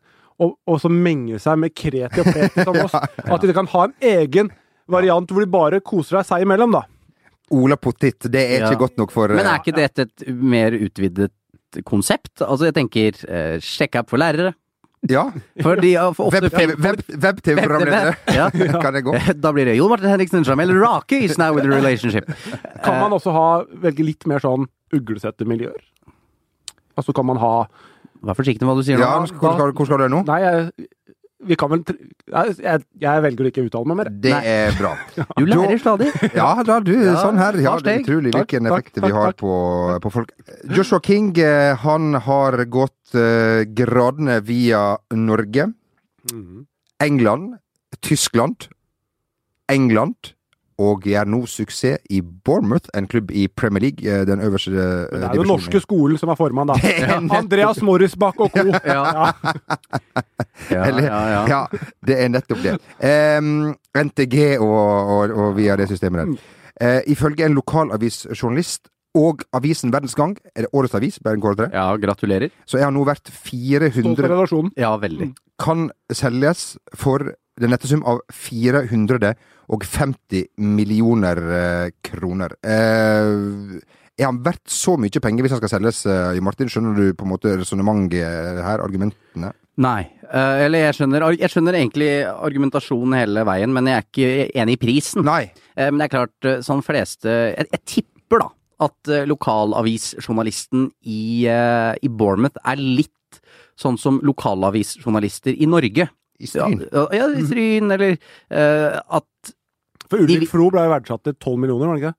Speaker 3: og, og så menge seg med kreti og pleti
Speaker 1: (laughs)
Speaker 3: som oss. At de kan ha en egen variant hvor de bare koser deg seg imellom, da.
Speaker 1: Ola Pottit. Det er
Speaker 2: Ja.
Speaker 1: ikke godt nok for
Speaker 2: Men
Speaker 1: eh,
Speaker 2: er ikke dette et mer utvidet konsept? Altså, jeg tenker eh, sjekk app for lærere.
Speaker 1: Ja.
Speaker 2: For de har for ofte
Speaker 1: Web-TV- web- Web-TV-programledere.
Speaker 2: Ja.
Speaker 1: (laughs) Kan det gå?
Speaker 2: Da blir det Jon Martin Henriksen, Jamel Rake is now with a relationship.
Speaker 1: Eh.
Speaker 3: Kan man også ha, velge litt mer sånn uglesette miljøer? Altså kan man ha
Speaker 2: Vær forsiktig med hva du sier
Speaker 1: Ja,
Speaker 2: nå.
Speaker 1: nå skal- hvor skal, hvor skal du nå?
Speaker 3: Nei, jeg, vi kan vel tr- jeg, jeg, jeg velger å ikke uttale meg mer.
Speaker 1: Det er bra.
Speaker 2: Du lærer stadig.
Speaker 1: Ja da, du.
Speaker 2: Ja,
Speaker 1: sånn her. Ja,
Speaker 2: par
Speaker 1: det er
Speaker 2: steg.
Speaker 1: utrolig
Speaker 3: Takk,
Speaker 1: hvilken
Speaker 3: takk,
Speaker 1: effekt vi
Speaker 3: takk,
Speaker 1: har
Speaker 3: takk.
Speaker 1: på, på folk. Joshua King eh, han har gått eh, gradene via Norge,
Speaker 3: Mhm.
Speaker 1: England, Tyskland, England og gjør nå suksess i Bournemouth, en klubb i Premier League, eh, den øverste eh,
Speaker 3: Men det er jo
Speaker 1: divisjonen.
Speaker 3: den norske skolen som er formann, da. (laughs) Andreas Morrisbakk og co.
Speaker 2: Ja. Ja,
Speaker 1: (laughs) Eller,
Speaker 2: ja, ja.
Speaker 1: ja, det er nettopp det. Em, NTG og, og, og via det systemet der. Eh, ifølge en lokalavisjournalist og avisen Verdens Gang, er det årets avis, Bergen Kåre Tre,
Speaker 2: ja, gratulerer.
Speaker 1: så er han nå verdt
Speaker 3: Stolt
Speaker 1: 400
Speaker 3: av relasjonen.
Speaker 2: Ja, veldig.
Speaker 1: kan selges for den nette sum av 450 millioner eh, kroner. Eh, er han verdt så mye penger hvis han skal selges, eh, Martin? Skjønner du på en måte resonnementet her, argumentene?
Speaker 2: Nei. eh, Eller jeg skjønner, jeg skjønner egentlig argumentasjonen hele veien, men jeg er ikke enig i prisen.
Speaker 1: Nei.
Speaker 2: Eh, Men det er klart, eh, som fleste Jeg, jeg tipper da at eh, lokalavisjournalisten i, eh, i Bournemouth er litt sånn som lokalavisjournalister i Norge.
Speaker 1: I stryn. Mm.
Speaker 2: Ja, ja, i Stryn, eller eh, at
Speaker 3: For Ulrik Flo ble jo verdsatt til 12 millioner, var det ikke det?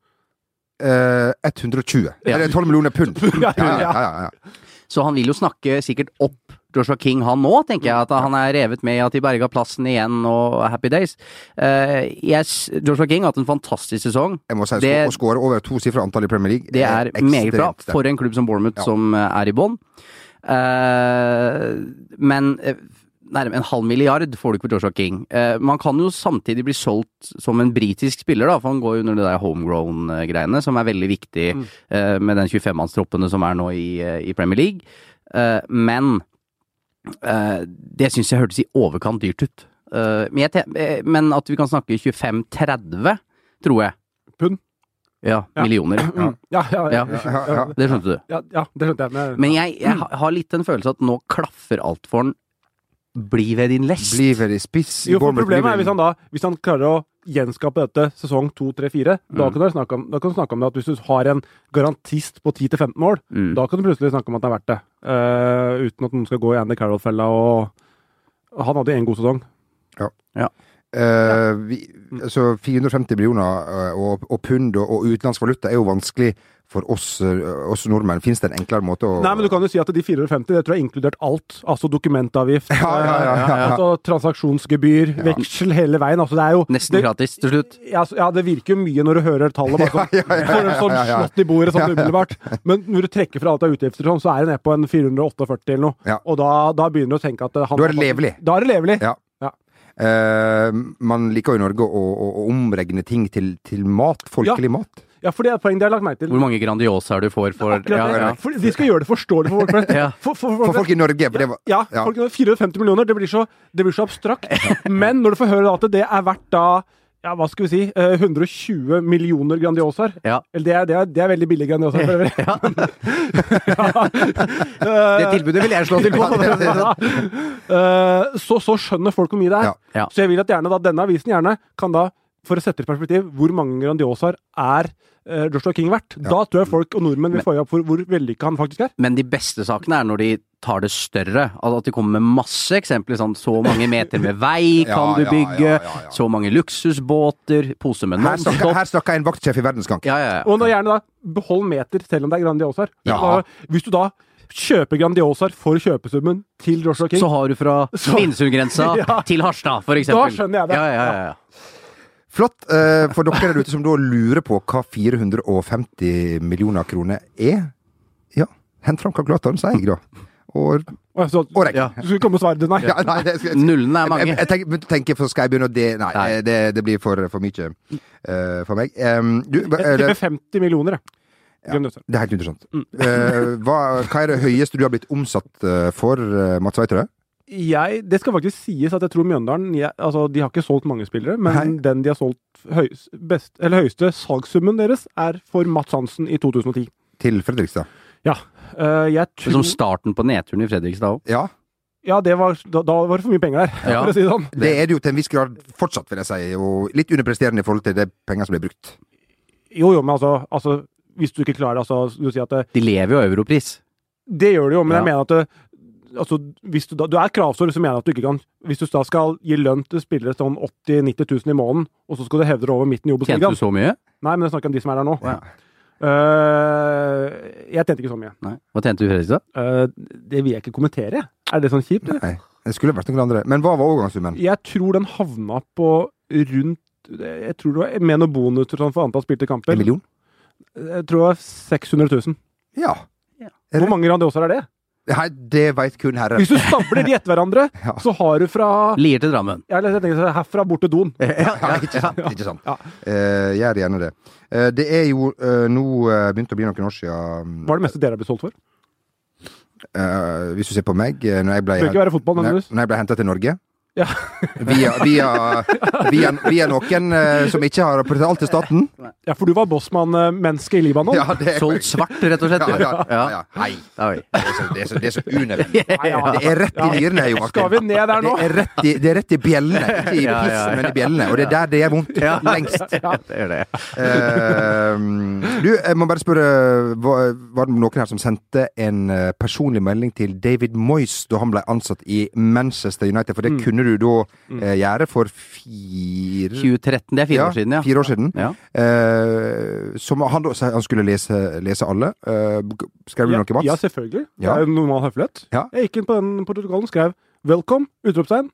Speaker 1: Eh, 120.
Speaker 2: Ja.
Speaker 1: Eller 12 millioner
Speaker 2: (laughs)
Speaker 1: pund.
Speaker 3: Ja, ja, ja.
Speaker 1: ja, ja.
Speaker 2: Så han vil jo snakke sikkert opp Joshua King han nå, tenker jeg. At han er revet med i at de berga plassen igjen og Happy Days. Eh, yes, Joshua King har hatt en fantastisk sesong.
Speaker 1: Jeg må si,
Speaker 2: Det-
Speaker 1: Å skåre over to sifre antall i Premier League
Speaker 2: Det er meget bra
Speaker 1: Eh, ekstremt sterkt.
Speaker 2: for en klubb som Bournemouth,
Speaker 1: Ja.
Speaker 2: som eh, er i bånn. Eh, men eh, nærmere en halv milliard får du ikke for Joshua King. Eh, man kan jo samtidig bli solgt som en britisk spiller, da, for han går jo under det der homegrown-greiene, som er veldig viktig eh, med den 25-mannstroppene som er nå i, eh, i Premier League. Eh, men eh, det syns jeg hørtes i overkant dyrt ut. Eh, men, jeg, te- eh, men at vi kan snakke 25-30, tror jeg.
Speaker 3: Pund?
Speaker 2: Ja,
Speaker 3: Ja.
Speaker 2: millioner.
Speaker 3: Mm. Ja, ja, ja,
Speaker 2: Ja.
Speaker 1: Ja, ja.
Speaker 2: Det skjønte du.
Speaker 3: ja, ja, det skjønte jeg. Men,
Speaker 2: Men jeg, jeg ha- har litt den følelsen at nå klaffer alt for den. Bli ved din lest.
Speaker 1: Blir veldig spiss i
Speaker 3: jo, for
Speaker 1: Bournemouth,
Speaker 3: problemet
Speaker 1: blir
Speaker 3: er hvis han da hvis han klarer å gjenskape dette sesong 2, 3, 4, da kan du snakke om, da kan du snakke om det at hvis du har en garantist på 10-15 mål,
Speaker 2: Mm.
Speaker 3: da kan du plutselig snakke om at det er verdt det. Eh, uten at noen skal gå i Andy Carroll-fella og Han hadde en god sesong.
Speaker 1: Eh, vi, altså 450 millioner eh, og, og pund og, og utenlandsk valuta er jo vanskelig for oss, eh, oss nordmenn. Fins det en enklere måte å
Speaker 3: Nei, men du kan jo si at de 450, det tror jeg er inkludert alt. Altså dokumentavgift,
Speaker 1: (laughs) Ja, ja, ja, ja, ja.
Speaker 3: Altså transaksjonsgebyr, veksel hele veien. Altså det er jo
Speaker 2: Nesten gratis til slutt.
Speaker 3: Ja, altså, ja, det virker jo mye når du hører tallet. Bare sånn,
Speaker 1: (laughs) Ja, ja, ja,
Speaker 3: får en
Speaker 1: ja,
Speaker 3: sånn
Speaker 1: ja, (laughs) ja.
Speaker 3: slått i bordet sånn umiddelbart. Men når du trekker fra alt av utgifter, og sånn, så er det ned på en 448 eller noe.
Speaker 1: Ja.
Speaker 3: Og da, da begynner du å tenke at eh, han,
Speaker 1: Da er det levelig.
Speaker 3: Da er det levelig.
Speaker 1: Ja.
Speaker 3: Ja.
Speaker 1: Eh, man liker jo i Norge å, å, å omregne ting til, til mat. Folkelig mat.
Speaker 3: Ja, for det er et poeng de har lagt merke til.
Speaker 2: Hvor mange Grandiosaer du får for
Speaker 3: Akkurat det.
Speaker 2: ja, ja.
Speaker 3: For de skal gjøre det forståelig for folk flest.
Speaker 2: Ja.
Speaker 3: For, for,
Speaker 1: For folk i Norge. For det var,
Speaker 3: Ja,
Speaker 1: Ja.
Speaker 3: folk- 450 millioner, det blir så, det blir så
Speaker 2: (laughs)
Speaker 3: abstrakt. Men når du får høre da at det er verdt da ja, hva skal vi si, eh, 120 millioner Grandiosaer.
Speaker 2: Ja.
Speaker 3: Eller det er, det, er, det er veldig billig Grandiosaer for
Speaker 2: (laughs)
Speaker 3: øvrig. (laughs)
Speaker 2: Det tilbudet vil jeg slå
Speaker 3: (laughs)
Speaker 2: til på. (laughs) for å si det sånn.
Speaker 3: Eh, så, så skjønner folk hvor mye det er.
Speaker 2: Ja. Ja.
Speaker 3: Så jeg vil at gjerne da, denne avisen gjerne kan da, for å sette det i perspektiv, hvor mange Grandiosaer er eh, Joshua King verdt. Da tror jeg folk og nordmenn vil få øye opp for hvor vellykka han faktisk er.
Speaker 2: Men de beste sakene er når de tar det større. Altså at de kommer med masse eksempler. Sånn, så mange meter med vei kan
Speaker 1: Ja,
Speaker 2: du
Speaker 1: ja,
Speaker 2: bygge.
Speaker 1: ja, ja, ja.
Speaker 2: Så mange luksusbåter. Pose med
Speaker 1: Her snakker,
Speaker 2: Nonstop.
Speaker 1: her snakker en vaktsjef i Verdensbank.
Speaker 2: Ja, ja, ja.
Speaker 3: Og da gjerne da, behold meter, selv om det er Grandiosaer.
Speaker 1: Ja.
Speaker 3: Da, hvis du da kjøper Grandiosaer for kjøpesummen til Joshua King
Speaker 2: Så har du fra
Speaker 3: Så-
Speaker 2: Svinesundgrensa
Speaker 3: Ja.
Speaker 2: til Harstad, for eksempel.
Speaker 3: Da skjønner jeg det.
Speaker 2: Ja, ja, ja, ja.
Speaker 1: Flott eh, for dere der ute som da lurer på hva 450 millioner kroner er. Ja, hent fram kalkulatoren, sier jeg da. Og,
Speaker 3: Å, så,
Speaker 1: og rekk.
Speaker 2: Ja.
Speaker 3: Du skulle komme og svare det, nei.
Speaker 1: Ja, nei, det, jeg,
Speaker 2: Nullene er mange.
Speaker 1: Jeg, jeg tenker, begynte å tenke, for skal jeg begynne å det Nei,
Speaker 2: Nei.
Speaker 1: eh, Det, det blir for, for mye eh, for meg. Em, du, hva-
Speaker 3: Jeg
Speaker 1: det,
Speaker 3: tipper 50 millioner, jeg. Grandiosaer.
Speaker 1: det er helt interessant. Eh, hva, hva er det høyeste du har blitt omsatt eh, for, eh, Mats Veiterød?
Speaker 3: Jeg, det skal faktisk sies at jeg tror Mjøndalen jeg, altså, De har ikke solgt mange spillere, men
Speaker 1: Nei.
Speaker 3: den de har solgt høy, best, eller høyeste salgssummen deres, er for Mats Hansen i 2010.
Speaker 1: Til Fredrikstad?
Speaker 3: Ja. eh, jeg
Speaker 2: Det er Som
Speaker 3: tror,
Speaker 2: starten på nedturen i Fredrikstad òg.
Speaker 1: Ja,
Speaker 3: ja det var, da, da var det for mye penger der,
Speaker 2: Ja.
Speaker 3: (laughs) for å si det sånn.
Speaker 1: det er det jo til en viss grad fortsatt, vil jeg si. Og litt underpresterende i forhold til det penger som blir brukt.
Speaker 3: Jo, jo, men altså, altså Hvis du ikke klarer det, altså Du sier at det,
Speaker 2: De lever jo av europris.
Speaker 3: Det gjør det jo, men
Speaker 2: Ja.
Speaker 3: jeg mener at det, altså, hvis du, da, du er kravstor, så mener jeg at du ikke kan Hvis du da skal gi lønn til spillere sånn 80 000-90 000 i måneden, og så skal du hevde det over midten i
Speaker 2: Tjente
Speaker 3: Obos-ligaen
Speaker 2: du så mye?
Speaker 3: Nei, men jeg snakker om de som er der nå.
Speaker 2: Ja.
Speaker 3: Eh, jeg tjente ikke så mye.
Speaker 2: Nei. Hva tjente du i Fredrikstad?
Speaker 3: Eh, det vil jeg ikke kommentere. jeg. Er det sånn kjipt? eller?
Speaker 1: Nei, det skulle vært noen andre. Men hva var overgangssummen?
Speaker 3: Jeg tror den havna på rundt Jeg tror det var med noen bonuser sånn, for antall spilte kamper.
Speaker 1: En million?
Speaker 3: Jeg tror det var 600 000.
Speaker 1: Ja.
Speaker 3: Hvor mange grandioser (laughs) er det?
Speaker 1: Nei, det veit kun herren.
Speaker 3: Hvis du stabler de etter hverandre,
Speaker 1: Ja.
Speaker 3: så har du fra
Speaker 1: Ah.
Speaker 2: Lier til Drammen.
Speaker 1: (laughs)
Speaker 3: jeg leser- jeg tenker, Herfra bort til doen.
Speaker 1: (laughs) Ja, ikke sant? Ikke sant.
Speaker 3: Ja.
Speaker 1: Eh, gjør gjerne det. Eh, det er jo eh, nå eh, begynt å bli noen år siden
Speaker 3: Hva er det meste dere har blitt solgt for?
Speaker 1: eh, Hvis du ser på meg eh, Når jeg ble,
Speaker 3: Det bør ikke være fotball,
Speaker 1: når,
Speaker 3: nødvendigvis.
Speaker 1: når jeg ble henta til Norge
Speaker 3: Ja.
Speaker 1: via, via, via, via noen eh, som ikke har betalt til staten.
Speaker 3: (laughs) Ja, for du var bossmann-menneske i Libanon. (laughs)
Speaker 1: Ja, det er
Speaker 2: Solgt svart, rett og slett.
Speaker 1: ja, ja, ja,
Speaker 2: Ja.
Speaker 1: ja. Hei.
Speaker 2: Oi.
Speaker 1: Det er så, det er så, det er så unødvendig.
Speaker 3: ja.
Speaker 1: Det er rett i dyrene, jo, Martin.
Speaker 3: Skal vi ned der nå?
Speaker 1: Det er rett i, det er rett i bjellene. Ikke i
Speaker 2: Ja, ja, ja.
Speaker 1: pissen, men i bjellene. Og det er der det gjør vondt lengst.
Speaker 2: Ja, det gjør det.
Speaker 1: Eh, du, jeg må bare spørre Var var det noen her som sendte en eh, personlig melding til David Moyes da han ble ansatt i Manchester United? For det
Speaker 3: Mm.
Speaker 1: kunne du da eh, gjøre for fire
Speaker 2: 2013, det er fire år siden, ja.
Speaker 1: Fire år siden.
Speaker 2: ja.
Speaker 1: Eh, som han, da, sa han skulle lese, lese alle. Eh, skrev du
Speaker 3: Ja,
Speaker 1: noe, Mats?
Speaker 3: ja, selvfølgelig. Det
Speaker 1: Ja.
Speaker 3: er jo normal høflighet.
Speaker 1: Ja.
Speaker 3: Jeg gikk inn på den protokollen og skrev 'Welcome!' utropstegn.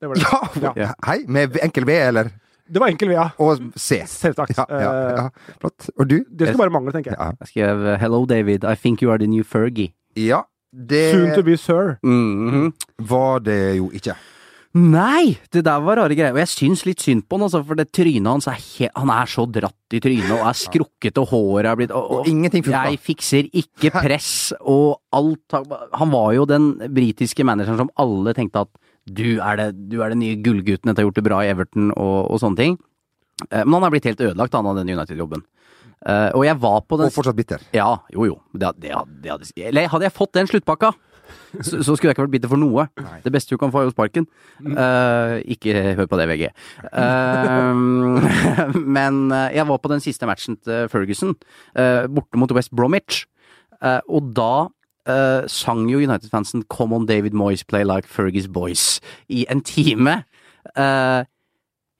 Speaker 3: Det var det.
Speaker 1: (laughs) Ja!
Speaker 2: Ja.
Speaker 1: Hei, med enkel V, eller?
Speaker 3: Det var enkel vea.
Speaker 1: Og C.
Speaker 3: Selvsagt.
Speaker 1: Ja, ja,
Speaker 3: Eh,
Speaker 1: ja. Flott. Og du?
Speaker 3: Det skulle bare mangle, tenker jeg.
Speaker 1: Ja.
Speaker 2: Jeg skrev eh, 'Hello, David. I think you are the new Fergie'.
Speaker 1: ja.
Speaker 3: Soon to
Speaker 1: Det
Speaker 3: be sir.
Speaker 2: Mhm.
Speaker 1: var det jo ikke.
Speaker 2: Nei! Det der var rare greier. Og jeg syns litt synd på han, altså, for det trynet hans er he Han er så dratt i trynet og er skrukket, og håret er blitt
Speaker 1: Og ingenting funka.
Speaker 2: Jeg fikser ikke press og alt har- Han var jo den britiske manageren som alle tenkte at du er, det, du er den nye gullgutten, dette har gjort det bra i Everton og, og sånne ting. Eh, Men han er blitt helt ødelagt, han av den United-jobben. Eh, Og jeg var på den
Speaker 1: Og fortsatt bitter.
Speaker 2: ja, jo jo. Det, det, det hadde, eller hadde jeg fått den sluttpakka, så, så skulle jeg ikke vært bitter for noe. Det beste du kan få, er jo sparken. Eh, ikke hør på det, VG. Eh, (laughs) men eh, jeg var på den siste matchen til Ferguson, eh, borte mot West Bromwich. Eh, og da eh, sang jo United-fansen 'Come on David Moyes, play like Fergie's boys' i en time. Eh,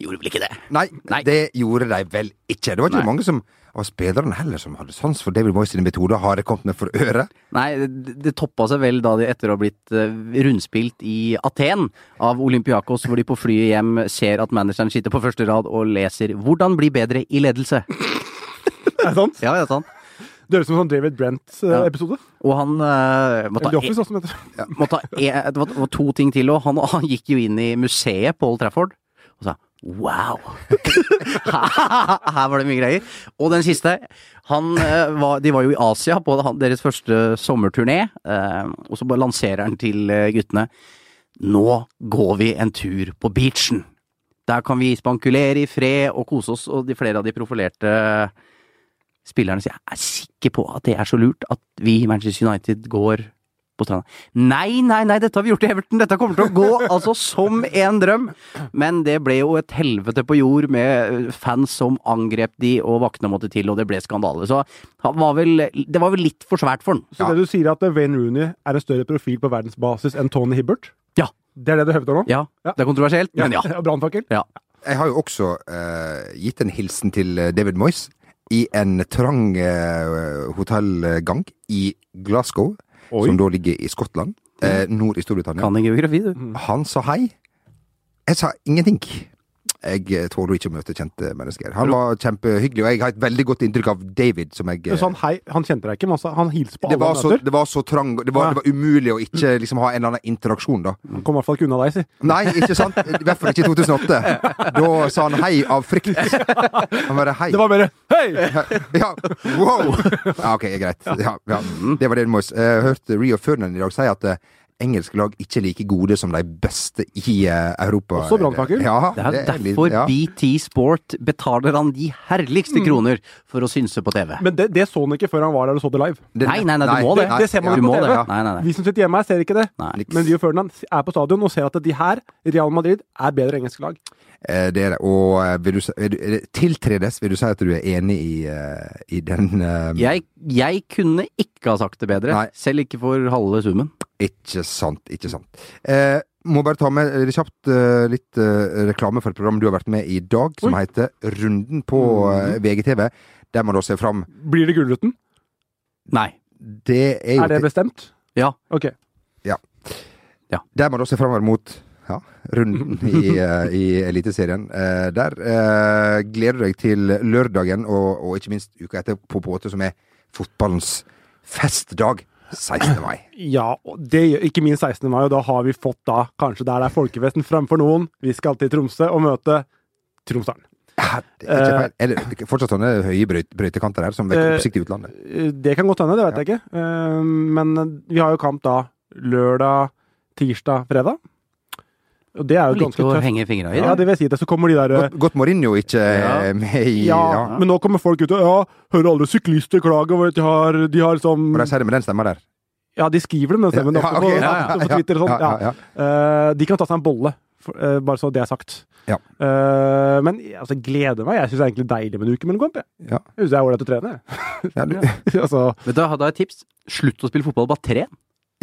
Speaker 2: gjorde vel ikke det?
Speaker 1: Nei,
Speaker 2: Nei.
Speaker 1: det gjorde de vel ikke. Det var ikke
Speaker 2: Nei.
Speaker 1: mange som, av spillerne heller som hadde sans for David Moyes sine metoder. Har det kommet med for øre?
Speaker 2: Nei, det, det toppa seg vel da de etter å ha blitt eh, rundspilt i Aten av Olympiakos, hvor de på flyet hjem ser at manageren sitter på første rad og leser 'Hvordan bli bedre i ledelse'.
Speaker 1: Mm.
Speaker 3: Er det sant?
Speaker 2: Ja, ja, sant.
Speaker 3: Det høres ut som en sånn David
Speaker 2: Ja.
Speaker 3: Brent-episode.
Speaker 2: Og han eh, må ta
Speaker 3: The
Speaker 2: e-
Speaker 3: Office, også, som heter.
Speaker 2: må ta e Det var- var to ting til òg. Han, han gikk jo inn i museet på Old Trafford og sa Wow! (laughs) Her var det mye greier. Og den siste. Han, eh, var, de var jo i Asia på han- deres første sommerturné. eh, og så bare lanserer han til eh, guttene Nå går vi en tur på beachen. Der kan vi spankulere i fred og kose oss, og de flere av de profilerte eh, spillerne sier Jeg er sikker på at det er så lurt at vi i Manchester United går på stranda. Nei, nei, nei, dette har vi gjort i Everton! Dette kommer til å gå altså som en drøm! Men det ble jo et helvete på jord med eh, fans som angrep de, og vaktene måtte til, og det ble skandale. Så han var vel, det var vel litt for svært for han.
Speaker 3: (laughs) Så det du sier, er at Wayne Rooney er en større profil på verdensbasis enn Tony Hibbert?
Speaker 2: Ja.
Speaker 3: Det er det du hevder nå?
Speaker 2: Ja, det er kontroversielt, men ja.
Speaker 3: (laughs) Brannfakkel?
Speaker 2: ja.
Speaker 1: Jeg har jo også eh, gitt en hilsen til eh, David Moyes i en trang eh, hotellgang i Glasgow, som da ligger i Skottland, eh, nord i Storbritannia.
Speaker 2: Kan en geografi, du.
Speaker 1: Han sa hei. Jeg sa ingenting. Jeg eh, tåler ikke å møte kjente mennesker. Han var kjempehyggelig, og jeg har et veldig godt inntrykk av David, som jeg
Speaker 3: Du
Speaker 1: eh,
Speaker 3: sa han hei, han kjente deg ikke, men han sa- han hilste på
Speaker 1: det
Speaker 3: alle
Speaker 1: var,
Speaker 3: han
Speaker 1: så,
Speaker 3: møter.
Speaker 1: det var så trang det var, det var umulig å ikke liksom, ha en eller annen interaksjon, da.
Speaker 3: Han kom i hvert fall ikke unna deg, si.
Speaker 1: Nei, ikke sant? I hvert fall ikke i 2008. Da sa han hei av frykt. Han bare hei.
Speaker 3: Det var bare hei!
Speaker 1: Ja, wow! Ja, ok, greit. Ja, ja. Mm, Det var det du må eh, Jeg hørte Rio Ferdinand i dag si at eh, engelske lag ikke er like gode som de beste i eh, Europa.
Speaker 3: Også brannfakkel?
Speaker 1: Ja,
Speaker 2: Det er
Speaker 1: det er litt-
Speaker 2: derfor
Speaker 1: ja.
Speaker 2: BT Sport betaler han de herligste kroner for å synse på TV.
Speaker 3: Men det, det så han ikke før han var der og så det live.
Speaker 1: Det-
Speaker 2: Nei, nei, nei, du må det.
Speaker 3: Det ser man
Speaker 1: ja.
Speaker 2: Du
Speaker 3: ikke på
Speaker 2: må
Speaker 3: TV.
Speaker 2: det. Nei, nei, nei.
Speaker 3: Vi som sitter hjemme her, ser ikke det.
Speaker 2: Nei.
Speaker 3: Men Rio Ferdinand er på stadion og ser at de her, Real Madrid, er bedre engelske lag.
Speaker 1: Eh, Det er det. Og eh, vil du, si- vil du, er det- tiltredes, vil du si at du er enig i, eh, i den eh,
Speaker 2: Jeg, jeg kunne ikke ha sagt det bedre,
Speaker 1: Nei.
Speaker 2: selv ikke for halve summen.
Speaker 1: Ikke sant, ikke sant. Eh, må bare ta med eh, kjapt eh, litt eh, reklame for et program du har vært med i i dag, som heter Runden på
Speaker 3: Mm.
Speaker 1: eh, VGTV. Der man da ser fram
Speaker 3: Blir det Gullruten?
Speaker 2: Nei.
Speaker 1: Det er jo
Speaker 3: Er det bestemt?
Speaker 2: Ja.
Speaker 3: Ok.
Speaker 1: Der man da ser framover mot Ja,
Speaker 3: (laughs)
Speaker 1: runden i, eh, i Eliteserien. Eh, der eh, gleder du deg til lørdagen, og, og ikke minst uka etterpå, på en måte, som er fotballens festdag. 16. mai.
Speaker 3: Ja, og det gjør ikke minst 16. mai, og da har vi fått da kanskje der det er folkefesten fremfor noen. Vi skal til Tromsø og møte Tromsdalen.
Speaker 1: Ja, det er, ikke feil. er det fortsatt sånne høye brøyt, brøytekanter her som vekker
Speaker 3: Eh,
Speaker 1: oppsikt i utlandet?
Speaker 3: Eh, Det kan godt hende, det vet jeg ikke. Eh, Men vi har jo kamp da lørdag, tirsdag, fredag. Og det er jo
Speaker 2: Litt
Speaker 3: ganske
Speaker 2: å
Speaker 3: tøft.
Speaker 2: henge fingra i. da.
Speaker 3: Ja, det vil jeg si det. Så kommer de der eh,
Speaker 1: Godt, godt Mourinho ikke eh, med i
Speaker 3: ja,
Speaker 1: ja.
Speaker 3: men nå kommer folk ut og ja, hører alle syklister klage over at de har, de har liksom
Speaker 1: Må de si det med den stemma der?
Speaker 3: Ja, de skriver det med den stemmen
Speaker 1: Ja, ok,
Speaker 3: ofte (laughs) på,
Speaker 1: ja, ja,
Speaker 3: ofte på Twitter og
Speaker 1: ja,
Speaker 3: sånn. Ja,
Speaker 1: ja, ja.
Speaker 3: Eh, de kan ta seg en bolle, for, eh, bare så det er sagt.
Speaker 1: Ja.
Speaker 3: Eh, men jeg- altså, jeg gleder meg. Jeg syns det er egentlig deilig med en uke mellom kamp. Jeg
Speaker 1: Ja.
Speaker 3: Jeg synes det er ålreit å trene. jeg. (laughs)
Speaker 1: Ja, du,
Speaker 3: altså,
Speaker 2: Vet du, jeg hadde et tips. Slutt å spille fotball, bare tre.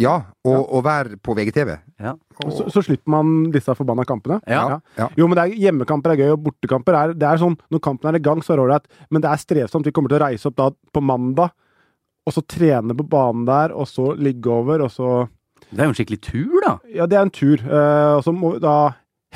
Speaker 1: ja og, og vær på VGTV.
Speaker 2: Ja.
Speaker 3: så, så slipper man disse forbanna kampene.
Speaker 2: Ja.
Speaker 1: Ja.
Speaker 3: Jo, men det er, Hjemmekamper er gøy, og bortekamper er, det er sånn, Når kampen er i gang, så er det ålreit, men det er strevsomt. Vi kommer til å reise opp da på mandag, og så trene på banen der, og så ligge over, og så
Speaker 2: Det er jo en skikkelig tur, da.
Speaker 3: Ja, det er en tur. eh, og så må vi da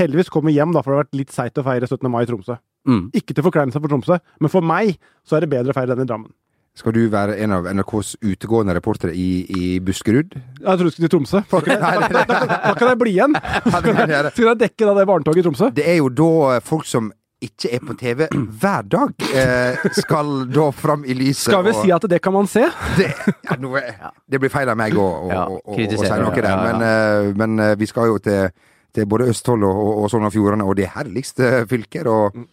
Speaker 3: heldigvis komme hjem, da, for det har vært litt seigt å feire 17. mai i Tromsø.
Speaker 2: Mm.
Speaker 3: Ikke til forkleinelse for Tromsø, men for meg så er det bedre å feire den i Drammen.
Speaker 1: Skal du være en av NRKs utegående reportere i, i Buskerud? (laughs)
Speaker 3: Jeg tror du skulle til Tromsø. for Da kan jeg- da- da- da- da kan jeg bli igjen!
Speaker 1: Ja, det kan jeg gjøre.
Speaker 3: Skal jeg dekke da det barnetoget i Tromsø?
Speaker 1: Det er jo da eh, folk som ikke er på TV hver dag, eh, skal da fram i lyset.
Speaker 3: Skal vi si at det kan man se?
Speaker 1: det, ja, nå er- det blir feil av meg å å-
Speaker 2: Ja,
Speaker 1: å- å- å si
Speaker 2: kritisere,
Speaker 1: noe
Speaker 2: ja,
Speaker 1: der,
Speaker 2: ja, ja.
Speaker 1: men, eh, men eh, vi skal jo til, til både Østfold og, og, og Sogn og Fjordane og de herligste fylker, og,
Speaker 2: Mm.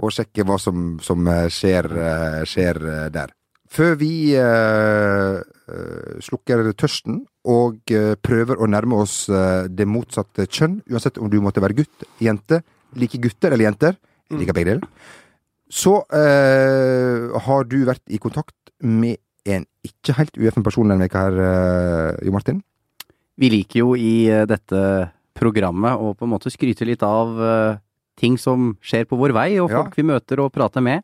Speaker 1: og sjekke hva som, som eh, skjer, eh, skjer eh, der. Før vi eh, eh, slukker tørsten og eh, prøver å nærme oss eh, det motsatte kjønn, uansett om du måtte være gutt, jente, like gutter eller jenter,
Speaker 2: Mm.
Speaker 1: jeg liker begge deler, så eh, har du vært i kontakt med en ikke helt ueffen person denne veka her, eh, Jo Martin.
Speaker 2: Vi liker jo i eh, dette programmet å på en måte skryte litt av eh, ting som skjer på vår vei, og
Speaker 1: Ja.
Speaker 2: folk vi møter og prater med.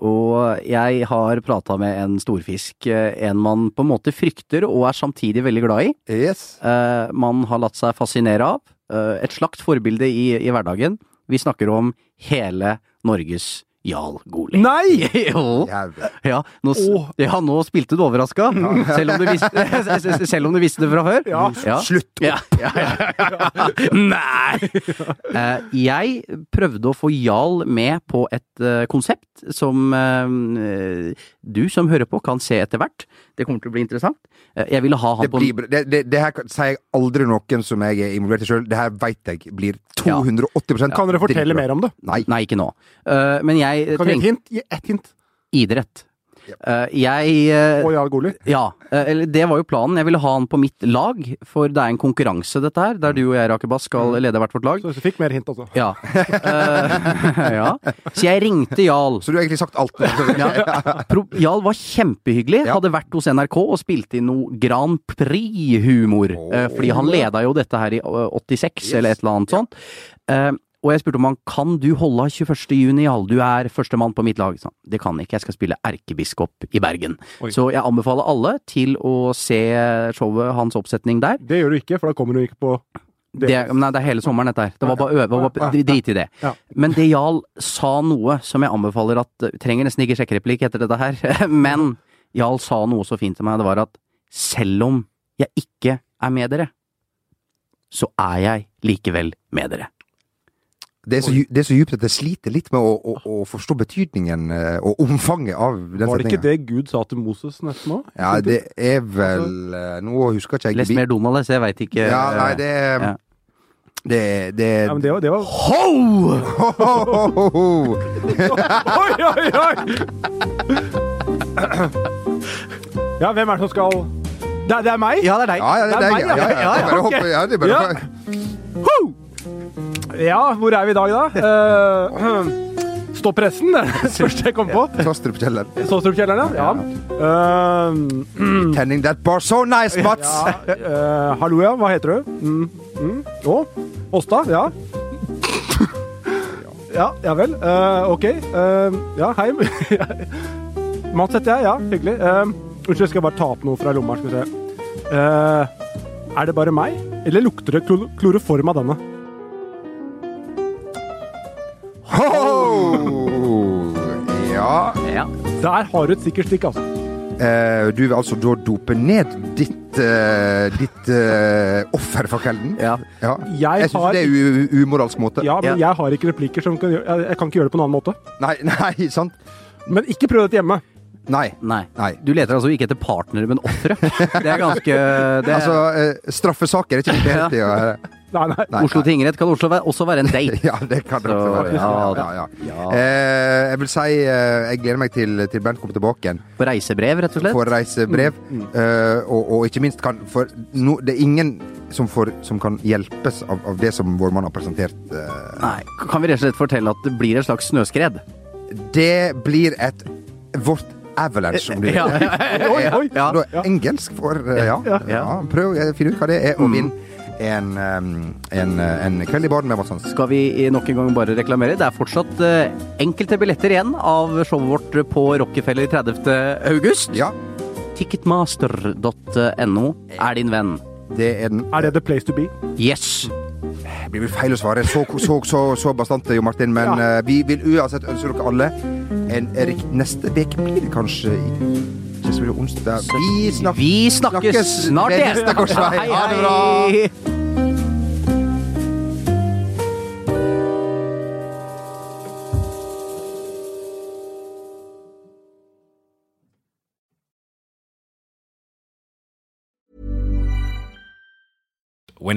Speaker 2: Og jeg har prata med en storfisk, eh, en man på en måte frykter og er samtidig veldig glad i.
Speaker 1: Yes.
Speaker 2: Eh, man har latt seg fascinere av. Eh, et slakt forbilde i, i hverdagen. Vi snakker om hele Norges Jarl Goli.
Speaker 3: Nei!
Speaker 2: (laughs) jo!
Speaker 1: Jævlig.
Speaker 2: Ja, nå, s-
Speaker 3: Åh.
Speaker 2: ja, nå spilte du overraska, (laughs) selv, om du visste- selv om du visste det fra før.
Speaker 3: Ja.
Speaker 1: Slutt
Speaker 2: Ja, ja, ja, ja. Nei!
Speaker 3: (laughs)
Speaker 2: Eh, jeg prøvde å få Jarl med på et eh, konsept som eh, du som hører på, kan se etter hvert. Det kommer til å bli interessant. Eh, jeg ville ha han
Speaker 1: Det,
Speaker 2: på
Speaker 1: blir, bra. det, det, det her kan- sier jeg aldri noen som jeg er involvert i sjøl. Det her veit jeg blir 280
Speaker 3: Kan dere fortelle mer om det?
Speaker 1: Nei.
Speaker 2: Nei, ikke nå. Eh, men jeg
Speaker 3: Kan vi gi et
Speaker 2: trengte
Speaker 3: hint? Gi ett hint.
Speaker 2: idrett. Eh, jeg eh,
Speaker 3: Og Jarl Goli.
Speaker 2: Ja, eh, eller det var jo planen. Jeg ville ha han på mitt lag, for det er en konkurranse dette her, der du og jeg, Rakebass, skal lede hvert vårt lag.
Speaker 3: Så du fikk mer hint, altså.
Speaker 2: Ja. Eh, (laughs) ja. Så jeg ringte Jarl.
Speaker 1: Så du har egentlig sagt
Speaker 2: (laughs)
Speaker 1: alt.
Speaker 2: Ja. Pro Jarl var kjempehyggelig.
Speaker 1: Ja.
Speaker 2: Hadde vært hos NRK og spilte inn noe Grand Prix-humor. eh, fordi han leda jo dette her i eh, 86, eller et eller annet sånt. Eh, og jeg spurte om han kan du holde 21. juni, Jarl. Du er førstemann på mitt lag. Så, han, det kan jeg ikke, jeg skal spille erkebiskop i Bergen.
Speaker 3: Oi.
Speaker 2: Så jeg anbefaler alle til å se showet, hans oppsetning der.
Speaker 3: Det gjør du ikke, for da kommer du ikke på det.
Speaker 2: Det, nei, det er hele sommeren, dette her. Det var bare øve. det var bare- Drit i det.
Speaker 3: Ja.
Speaker 2: Men det Jarl sa noe som jeg anbefaler at uh, Trenger nesten ikke sjekkereplikk etter dette her, (laughs) men Jarl sa noe så fint til meg. Det var at selv om jeg ikke er med dere, så er jeg likevel med dere.
Speaker 1: Det er, så, dju- det er så djupt at jeg sliter litt med å, å, å forstå betydningen eh, og omfanget av den
Speaker 3: Var det ikke
Speaker 1: setninga.
Speaker 3: det Altså- Gud sa til Moses nesten òg?
Speaker 1: Ja, det er vel eh, Nå husker ikke jeg
Speaker 2: Les mer Donald, jeg, så jeg veit ikke eh,
Speaker 1: Ja, nei, det er
Speaker 2: Ja.
Speaker 1: Det, det,
Speaker 3: ja, men det var, det var...
Speaker 2: Ho!
Speaker 1: Ho, ho, ho, ho.
Speaker 3: Oi, oi, oi! Ja, hvem er det som skal Det er, det er meg?
Speaker 2: Ja, det er deg.
Speaker 1: Ja, ja, det er deg. Ja, ja, ja. Det er bare å hoppe- ja, det er bare å
Speaker 3: Ja.
Speaker 1: hoppe.
Speaker 3: Ja, hvor er vi i dag,
Speaker 1: (laughs)
Speaker 3: da? Eh, (clears throat) Stå pressen, (laughs) det er det første jeg kom på.
Speaker 1: Taster på kjelleren.
Speaker 3: Ståstrupkjelleren, ja. Eh, ja.
Speaker 1: Tenning that bar so nice, Mats!
Speaker 3: ja eh, hallo, ja. Hva heter du? Mm. Mm. Å, Åsta? Ja. (laughs) Ja, ja vel. Eh, OK. Eh, ja, hei. (laughs) Mats heter jeg. Ja, hyggelig. Eh, Unnskyld, skal jeg bare ta opp noe fra lomma? her, Skal vi se. Eh, er det bare meg, eller lukter det klor kloroform av denne? Der har du et sikkert stikk, altså.
Speaker 1: Eh, du vil altså da dope ned ditt, eh, ditt eh, offer for kvelden?
Speaker 2: Ja.
Speaker 1: Jeg, syns
Speaker 3: har-
Speaker 1: det er u u- umoralsk måte.
Speaker 3: Ja, men
Speaker 2: Ja.
Speaker 3: jeg har ikke replikker som kan gjøre jeg- Jeg kan ikke gjøre det på en annen måte.
Speaker 1: Nei, nei, sant?
Speaker 3: Men ikke prøv dette hjemme.
Speaker 1: Nei.
Speaker 2: Nei.
Speaker 1: Nei.
Speaker 2: Du leter altså ikke etter partnere,
Speaker 1: (laughs)
Speaker 2: men ofre. Det er ganske det er,
Speaker 1: Altså, eh, straffesaker er ikke det helt i å
Speaker 3: Nei, nei.
Speaker 1: nei,
Speaker 2: Oslo tingrett kan Oslo være, også være en
Speaker 1: (laughs)
Speaker 2: date.
Speaker 1: Ja, det kan det også
Speaker 2: Så,
Speaker 1: være.
Speaker 2: ja
Speaker 1: ja,
Speaker 2: da.
Speaker 1: ja.
Speaker 2: Ja.
Speaker 1: Eh, jeg vil si eh, jeg gleder meg til, til Bernt kommer tilbake igjen.
Speaker 2: På reisebrev, rett og slett.
Speaker 1: Får reisebrev. eh, og, og ikke minst kan For no, det er ingen som, får, som kan hjelpes av, av det som vår mann har presentert. eh,
Speaker 2: Nei, Kan vi rett og slett fortelle at det blir et slags snøskred?
Speaker 1: Det blir et vårt avalanche, om du vil.
Speaker 2: Ja.
Speaker 3: Oi, oi.
Speaker 1: (laughs) Ja.
Speaker 2: Ja.
Speaker 1: Da, engelsk for eh, ja.
Speaker 2: Ja.
Speaker 1: ja. Prøv å finne ut hva det er, og vinn en, eh, en, eh, en kveld i baren med Mads Hansen.
Speaker 2: Skal vi i nok en gang bare reklamere? Det er fortsatt eh, enkelte billetter igjen av showet vårt på Rockefeller 30. august.
Speaker 1: Ja,
Speaker 2: Ticketmaster.no er din venn.
Speaker 1: det er den.
Speaker 3: Er det the place to be?
Speaker 2: Yes!
Speaker 1: Det blir vel feil å svare så, så, så, så bastante, Jo Martin, men
Speaker 3: Ja.
Speaker 1: eh, vi vil uansett ønske dere alle en rikt Neste uke blir det kanskje ikke så mye onsdag. Vi snakkes.
Speaker 2: Vi snakkes,
Speaker 1: Snakkes
Speaker 2: snart
Speaker 1: ved
Speaker 2: igjen!
Speaker 1: neste korsvei.
Speaker 2: Hei,
Speaker 1: Ha det
Speaker 2: hei.
Speaker 1: bra.
Speaker 6: when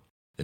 Speaker 6: the